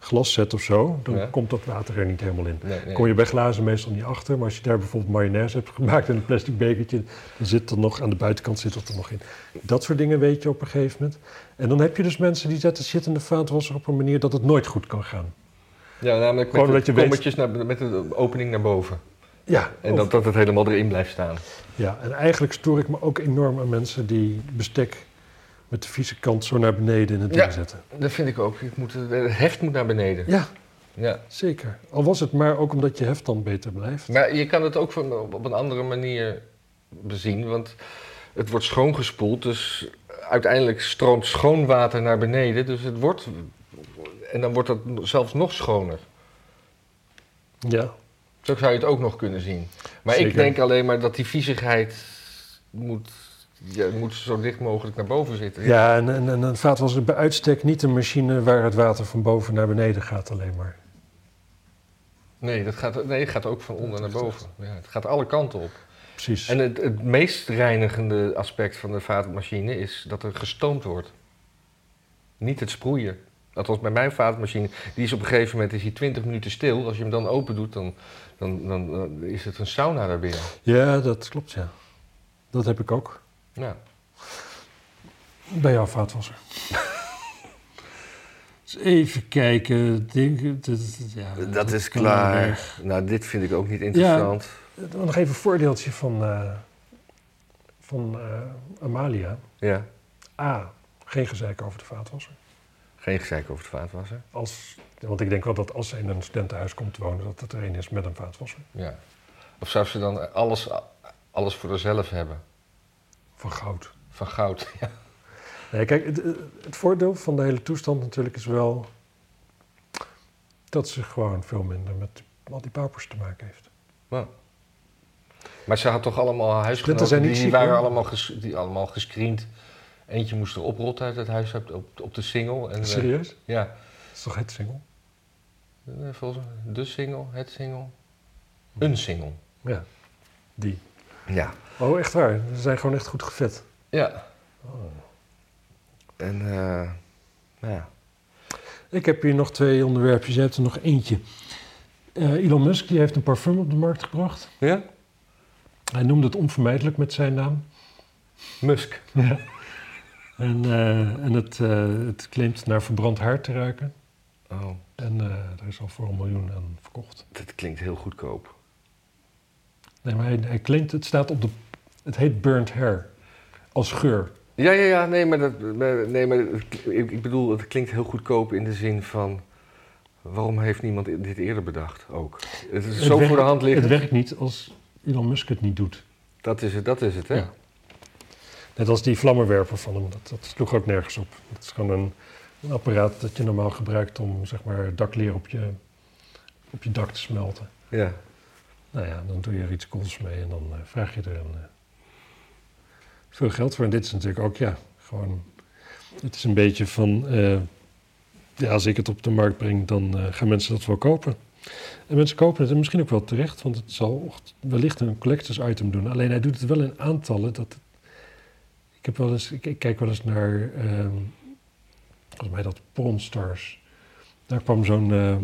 [SPEAKER 2] glas zet of zo, dan
[SPEAKER 1] Ja.
[SPEAKER 2] komt dat water er niet helemaal in.
[SPEAKER 1] Nee, nee.
[SPEAKER 2] Kom je bij glazen meestal niet achter, maar als je daar bijvoorbeeld mayonaise hebt gemaakt in een plastic bekertje, dan zit er nog aan de buitenkant zit dat er nog in. Dat soort dingen weet je op een gegeven moment. En dan heb je dus mensen die zetten shit in de vaatwasser op een manier dat het nooit goed kan gaan.
[SPEAKER 1] Ja, namelijk
[SPEAKER 2] Gewoon
[SPEAKER 1] met
[SPEAKER 2] dat
[SPEAKER 1] de
[SPEAKER 2] je weet-
[SPEAKER 1] kommetjes naar, met de opening naar boven.
[SPEAKER 2] Ja,
[SPEAKER 1] En
[SPEAKER 2] of-
[SPEAKER 1] dat, dat het helemaal erin blijft staan.
[SPEAKER 2] Ja, en eigenlijk stoor ik me ook enorm aan mensen die bestek met de vieze kant zo naar beneden in het ding
[SPEAKER 1] Ja.
[SPEAKER 2] zetten.
[SPEAKER 1] Dat vind ik ook. Ik moet, het heft moet naar beneden.
[SPEAKER 2] Ja,
[SPEAKER 1] Ja.
[SPEAKER 2] zeker. Al was het maar ook omdat je heft dan beter blijft.
[SPEAKER 1] Maar je kan het ook van, op een andere manier bezien, want het wordt schoongespoeld, dus uiteindelijk stroomt schoon water naar beneden, dus het wordt, en dan wordt dat zelfs nog schoner.
[SPEAKER 2] Ja,
[SPEAKER 1] Zo zou je het ook nog kunnen zien. Maar ik
[SPEAKER 2] Zeker.
[SPEAKER 1] denk alleen maar dat die viezigheid moet, ja, moet zo dicht mogelijk naar boven zitten.
[SPEAKER 2] ja en, en, en een vaatwasser is bij uitstek niet een machine waar het water van boven naar beneden gaat alleen maar.
[SPEAKER 1] Nee, dat gaat, nee, het gaat ook van onder naar boven. Ja, het gaat alle kanten op.
[SPEAKER 2] Precies.
[SPEAKER 1] En het, het meest reinigende aspect van de vaatmachine is dat er gestoomd wordt. Niet het sproeien. Althans, bij mijn vaatmachine, die is op een gegeven moment is die 20 minuten stil. Als je hem dan open doet, dan, dan, dan, dan eh, is het een sauna daarbinnen.
[SPEAKER 2] Ja, dat klopt, ja. Dat heb ik ook.
[SPEAKER 1] Ja.
[SPEAKER 2] Bij jouw vaatwasser. Dus Even kijken. Denk, dat- dat- ja,
[SPEAKER 1] Dat is
[SPEAKER 2] kan wel
[SPEAKER 1] klaar.
[SPEAKER 2] weer.
[SPEAKER 1] Nou, dit vind ik ook niet
[SPEAKER 2] interessant.
[SPEAKER 1] interessant.
[SPEAKER 2] Dan Eh, Nog even een voordeeltje van, eh, van eh, Amalia.
[SPEAKER 1] Ja.
[SPEAKER 2] A, geen gezeik over de vaatwasser.
[SPEAKER 1] Geen gezeik over het vaatwasser.
[SPEAKER 2] Als, want ik denk wel dat als ze in een studentenhuis komt wonen, dat het er een is met een vaatwasser.
[SPEAKER 1] Ja. Of zou ze dan alles, alles voor zichzelf hebben?
[SPEAKER 2] Van goud.
[SPEAKER 1] Van goud. Ja.
[SPEAKER 2] Nee, kijk, het, het voordeel van de hele toestand natuurlijk is wel dat ze gewoon veel minder met al die paupers te maken heeft.
[SPEAKER 1] Ja. Maar ze had toch allemaal huisgenoten,
[SPEAKER 2] zijn niet
[SPEAKER 1] die
[SPEAKER 2] ziek,
[SPEAKER 1] waren
[SPEAKER 2] hoor.
[SPEAKER 1] allemaal, ges- die allemaal gescreend. Eentje moest er oprotten uit het huis op, op, op de single. En, eh,
[SPEAKER 2] Serieus?
[SPEAKER 1] ja,
[SPEAKER 2] Dat is toch het single?
[SPEAKER 1] Eh, volgens mij de single, het single, een single.
[SPEAKER 2] Ja, die.
[SPEAKER 1] Ja.
[SPEAKER 2] Oh, echt waar. Ze zijn gewoon echt goed gevet.
[SPEAKER 1] Ja. Oh. En, eh, nou ja.
[SPEAKER 2] Ik heb hier nog twee onderwerpjes. Je hebt er nog eentje. Eh, Elon Musk die heeft een parfum op de markt gebracht.
[SPEAKER 1] Ja?
[SPEAKER 2] Hij noemde het onvermijdelijk met zijn naam.
[SPEAKER 1] Musk.
[SPEAKER 2] En, eh, en het, eh, het claimt naar verbrand haar te ruiken.
[SPEAKER 1] Oh,
[SPEAKER 2] En eh, daar is al voor een miljoen aan verkocht.
[SPEAKER 1] dat klinkt heel goedkoop.
[SPEAKER 2] Nee, maar hij, hij claimt, het staat op de... Het heet burnt hair. Als geur.
[SPEAKER 1] Ja, ja, ja, nee, maar, dat, maar- nee, maar het kl- ik ik bedoel, het klinkt heel goedkoop in de zin van... waarom heeft niemand dit eerder bedacht ook? Het is zo
[SPEAKER 2] Het
[SPEAKER 1] voor de hand
[SPEAKER 2] Het
[SPEAKER 1] liggend.
[SPEAKER 2] werkt niet als Elon Musk het niet doet.
[SPEAKER 1] Dat is het, dat is het, hè?
[SPEAKER 2] Ja. Net als die vlammenwerper van hem. Dat, dat sloeg ook nergens op. Het is gewoon een, een apparaat dat je normaal gebruikt om zeg maar, dakleer op je, op je dak te smelten.
[SPEAKER 1] Ja.
[SPEAKER 2] Nou ja, dan doe je er iets cools mee en dan eh, vraag je er een, eh, veel geld voor. En dit is natuurlijk ook, ja, gewoon... Het is een beetje van, eh, ja, als ik het op de markt breng, dan eh, gaan mensen dat wel kopen. En mensen kopen het en misschien ook wel terecht, want het zal wellicht een collectors item doen. Alleen hij doet het wel in aantallen. Dat ik, heb wel eens, ik, ik kijk wel eens naar, ehm volgens mij dat Pornstars. Daar kwam zo'n eh,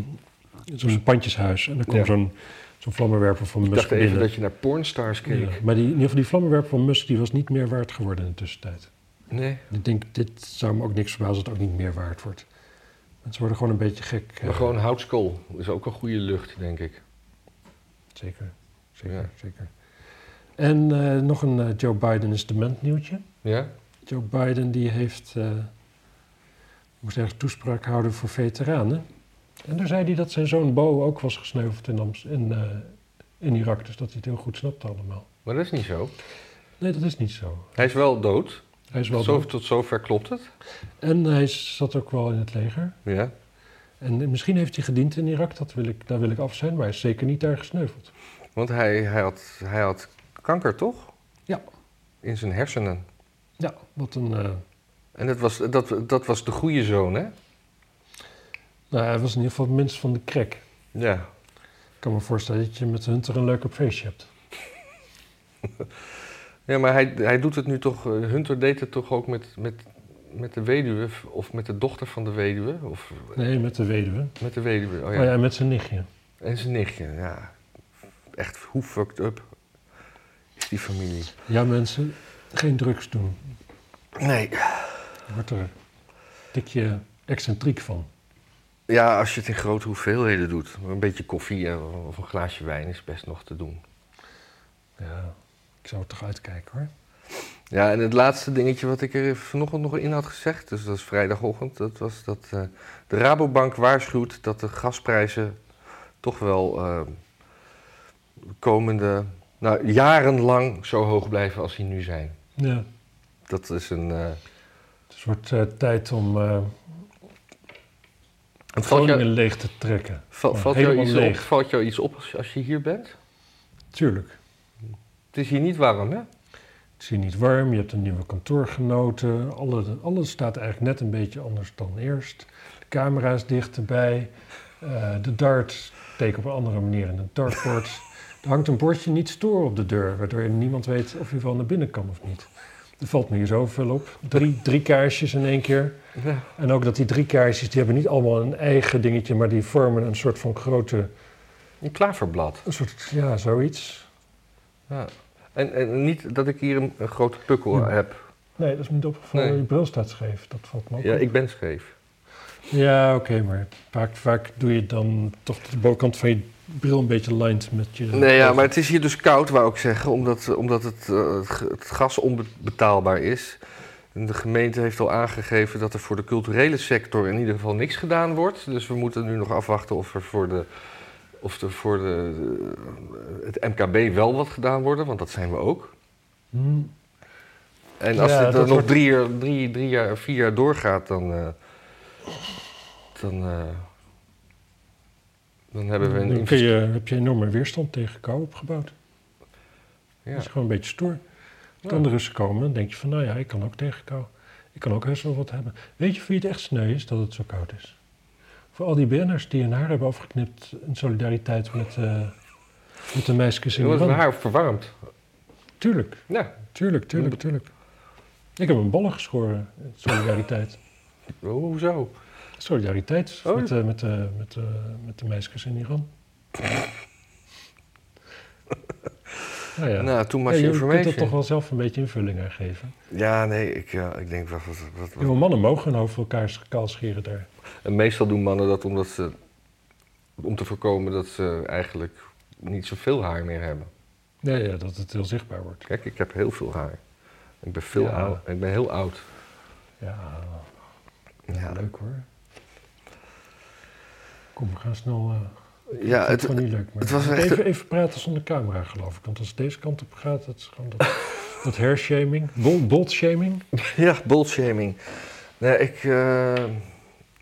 [SPEAKER 2] zo'n pandjeshuis en er kwam
[SPEAKER 1] Ja.
[SPEAKER 2] zo'n zo'n vlammenwerper van
[SPEAKER 1] Ik
[SPEAKER 2] Musk
[SPEAKER 1] dacht even
[SPEAKER 2] binnen.
[SPEAKER 1] dat je naar pornstars keek.
[SPEAKER 2] Ja, maar die, in ieder geval die vlammenwerper van Musk die was niet meer waard geworden in de tussentijd.
[SPEAKER 1] Nee.
[SPEAKER 2] Ik denk, dit zou me ook niks verbazen als het ook niet meer waard wordt. Mensen worden gewoon een beetje gek. eh,
[SPEAKER 1] Maar gewoon houtskool is ook een goede lucht, denk ik.
[SPEAKER 2] Zeker, zeker,
[SPEAKER 1] Ja.
[SPEAKER 2] zeker. En eh, nog een eh, Joe Biden is dement nieuwtje.
[SPEAKER 1] Ja?
[SPEAKER 2] Joe Biden die heeft, eh, moest ergens toespraak houden voor veteranen. En daar zei hij dat zijn zoon Bo ook was gesneuveld in, Ams in, eh, in Irak. Dus dat hij het heel goed snapte allemaal.
[SPEAKER 1] Maar dat is niet zo.
[SPEAKER 2] Nee, dat is niet zo.
[SPEAKER 1] Hij is wel dood.
[SPEAKER 2] Hij is wel
[SPEAKER 1] Zo,
[SPEAKER 2] dood.
[SPEAKER 1] tot zover klopt het.
[SPEAKER 2] En hij zat ook wel in het leger.
[SPEAKER 1] Ja.
[SPEAKER 2] En misschien heeft hij gediend in Irak, dat wil ik, daar wil ik af zijn, maar hij is zeker niet daar gesneuveld.
[SPEAKER 1] Want hij, hij, had, hij had kanker, toch?
[SPEAKER 2] Ja.
[SPEAKER 1] In zijn hersenen.
[SPEAKER 2] Ja, wat een. eh,
[SPEAKER 1] En dat was, dat, dat was de goede zoon, hè?
[SPEAKER 2] nou, hij was in ieder geval het minst van de krek.
[SPEAKER 1] Ja.
[SPEAKER 2] Ik kan me voorstellen dat je met Hunter een leuk feestje hebt.
[SPEAKER 1] Ja, maar hij, hij doet het nu toch... eh, Hunter deed het toch ook met, met, met de weduwe... f- of met de dochter van de weduwe? Of
[SPEAKER 2] Nee, met de weduwe.
[SPEAKER 1] met de weduwe, oh
[SPEAKER 2] Oh
[SPEAKER 1] ja.
[SPEAKER 2] ja, met zijn nichtje.
[SPEAKER 1] En zijn nichtje, ja. Echt, hoe fucked up is die familie?
[SPEAKER 2] Ja, mensen, geen drugs doen.
[SPEAKER 1] Nee.
[SPEAKER 2] Je wordt er een tikje excentriek van.
[SPEAKER 1] Ja, als je het in grote hoeveelheden doet. Een beetje koffie eh, of een glaasje wijn is best nog te doen.
[SPEAKER 2] Ja, ik zou er toch uitkijken hoor.
[SPEAKER 1] Ja, en het laatste dingetje wat ik er vanochtend nog in had gezegd, dus dat is vrijdagochtend, dat was dat eh, de Rabobank waarschuwt dat de gasprijzen toch wel eh, de komende nou, jarenlang zo hoog blijven als die nu zijn.
[SPEAKER 2] Ja,
[SPEAKER 1] Dat is een. eh
[SPEAKER 2] het wordt eh, tijd om eh
[SPEAKER 1] het valt
[SPEAKER 2] Groningen
[SPEAKER 1] jou,
[SPEAKER 2] leeg te trekken.
[SPEAKER 1] va-
[SPEAKER 2] Ja,
[SPEAKER 1] valt, jou
[SPEAKER 2] helemaal
[SPEAKER 1] iets op,
[SPEAKER 2] leeg.
[SPEAKER 1] valt jou iets op als je, als je hier bent?
[SPEAKER 2] Tuurlijk.
[SPEAKER 1] Het is hier niet warm, hè?
[SPEAKER 2] Het is hier niet warm, je hebt een nieuwe kantoorgenoten. Alle, alles staat eigenlijk net een beetje anders dan eerst. De camera is dichterbij. eh, de dart steekt op een andere manier in het dartboard. er hangt een bordje niet storen op de deur, waardoor niemand weet of je wel naar binnen kan of niet. Er valt me hier zoveel op. Drie, drie kaarsjes in één keer.
[SPEAKER 1] Ja.
[SPEAKER 2] En ook dat die drie kaarsjes, die hebben niet allemaal een eigen dingetje, maar die vormen een soort van grote,
[SPEAKER 1] Een klaverblad.
[SPEAKER 2] een soort, ja, zoiets.
[SPEAKER 1] Ja. En, en niet dat ik hier een, een grote pukkel
[SPEAKER 2] Ja.
[SPEAKER 1] heb.
[SPEAKER 2] Nee, dat is me niet opgevallen.
[SPEAKER 1] Nee.
[SPEAKER 2] Je bril staat scheef, dat valt me ook
[SPEAKER 1] Ja,
[SPEAKER 2] op.
[SPEAKER 1] ik ben scheef.
[SPEAKER 2] Ja, oké, maar vaak, vaak doe je dan toch de bovenkant van je bril een beetje lined met je...
[SPEAKER 1] Nee, ja, maar het is hier dus koud, wou ik zeggen, omdat, omdat het, eh, het ge- het gas onbetaalbaar is. En de gemeente heeft al aangegeven dat er voor de culturele sector in ieder geval niks gedaan wordt. Dus we moeten nu nog afwachten of er voor, de, of er voor de, eh, het MKB wel wat gedaan wordt, want dat zijn we ook.
[SPEAKER 2] Hm,
[SPEAKER 1] En als
[SPEAKER 2] Ja,
[SPEAKER 1] dit dan
[SPEAKER 2] dat
[SPEAKER 1] nog
[SPEAKER 2] wordt-
[SPEAKER 1] drie, jaar, drie, drie jaar, vier jaar doorgaat, dan. eh, dan, eh, dan hebben we een.
[SPEAKER 2] dan kun je, heb je enorme weerstand tegen kou opgebouwd.
[SPEAKER 1] ja.
[SPEAKER 2] Dat is gewoon een beetje stoer.
[SPEAKER 1] Ja.
[SPEAKER 2] Als dan de Russen komen, dan denk je van, nou ja, ik kan ook tegen kou. Ik kan ook heus wel wat hebben. Weet je voor wie het echt sneu is dat het zo koud is? Voor al die BN'ers die hun haar hebben afgeknipt in solidariteit met, eh, met de meisjes in
[SPEAKER 1] Dan wordt
[SPEAKER 2] Iran.
[SPEAKER 1] mijn haar verwarmd.
[SPEAKER 2] Tuurlijk,
[SPEAKER 1] Ja.
[SPEAKER 2] tuurlijk, tuurlijk, tuurlijk. Ik heb een ballen geschoren in solidariteit.
[SPEAKER 1] Ho- Hoezo?
[SPEAKER 2] Solidariteit
[SPEAKER 1] Oh.
[SPEAKER 2] met, de- met, de- met, de- met de meisjes in Iran. nou ja,
[SPEAKER 1] Nou, toen was
[SPEAKER 2] Ja,
[SPEAKER 1] je
[SPEAKER 2] je kunt dat toch
[SPEAKER 1] information.
[SPEAKER 2] wel zelf een beetje invulling aan geven.
[SPEAKER 1] Ja, nee, ik, ja, ik denk wat, wat, wat, wat-
[SPEAKER 2] Jonge mannen mogen hun hoofd voor elkaar kaal scheren daar.
[SPEAKER 1] En meestal doen mannen dat omdat ze. om te voorkomen dat ze eigenlijk niet zoveel haar meer hebben.
[SPEAKER 2] Ja, ja, dat het heel zichtbaar wordt.
[SPEAKER 1] Kijk, ik heb heel veel haar. Ik ben, veel
[SPEAKER 2] Ja.
[SPEAKER 1] oud. ik ben heel oud.
[SPEAKER 2] Ja,
[SPEAKER 1] Ja.
[SPEAKER 2] leuk hoor. Kom, we gaan snel. eh, ik
[SPEAKER 1] Ja,
[SPEAKER 2] vind het
[SPEAKER 1] het,
[SPEAKER 2] gewoon niet leuk. Maar
[SPEAKER 1] het was echt
[SPEAKER 2] even,
[SPEAKER 1] een-
[SPEAKER 2] even praten zonder camera, geloof ik. Want als het deze kant op gaat, dat is gewoon dat, dat hairshaming. Bol, boltshaming.
[SPEAKER 1] Ja, bolshaming. Nee, ik. eh,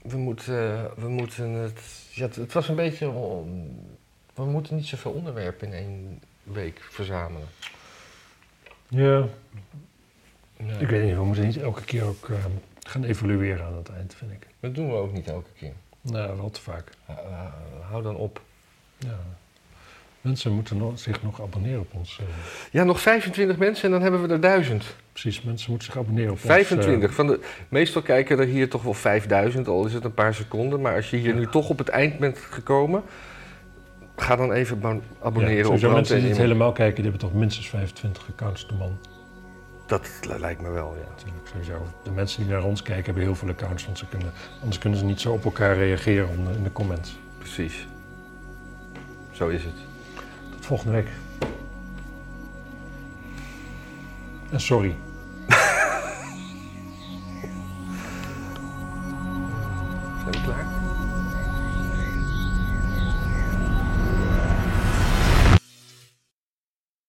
[SPEAKER 1] we, moeten, we moeten het. Ja, het, het was een beetje. on- we moeten niet zoveel onderwerpen in één week verzamelen.
[SPEAKER 2] Ja,
[SPEAKER 1] Nee,
[SPEAKER 2] ik weet niet. We moeten niet elke keer ook eh, gaan evalueren aan het eind, vind ik.
[SPEAKER 1] Dat doen we ook niet elke keer.
[SPEAKER 2] Nou, wel te vaak.
[SPEAKER 1] Eh, eh, hou dan op.
[SPEAKER 2] Ja. Mensen moeten nog- zich nog abonneren op ons. eh,
[SPEAKER 1] Ja, nog 25 mensen en dan hebben we er 1000.
[SPEAKER 2] precies, mensen moeten zich abonneren op ons. eh,
[SPEAKER 1] 25. Van de, meestal kijken er hier toch wel 5000, al is het een paar seconden. Maar als je hier nu toch op het eind bent gekomen, ga dan even ban-
[SPEAKER 2] Ja,
[SPEAKER 1] abonneren op
[SPEAKER 2] sowieso
[SPEAKER 1] Brand
[SPEAKER 2] mensen
[SPEAKER 1] en
[SPEAKER 2] die het
[SPEAKER 1] Iemand.
[SPEAKER 2] helemaal kijken, die hebben toch minstens 25 accounts de man.
[SPEAKER 1] Dat li- lijkt me wel, ja.
[SPEAKER 2] Natuurlijk, sowieso. De mensen die naar ons kijken hebben heel veel accounts, want ze kunnen, anders kunnen ze niet zo op elkaar reageren om de- in de comments.
[SPEAKER 1] Precies. Zo is het.
[SPEAKER 2] Tot volgende week. En Eh, sorry,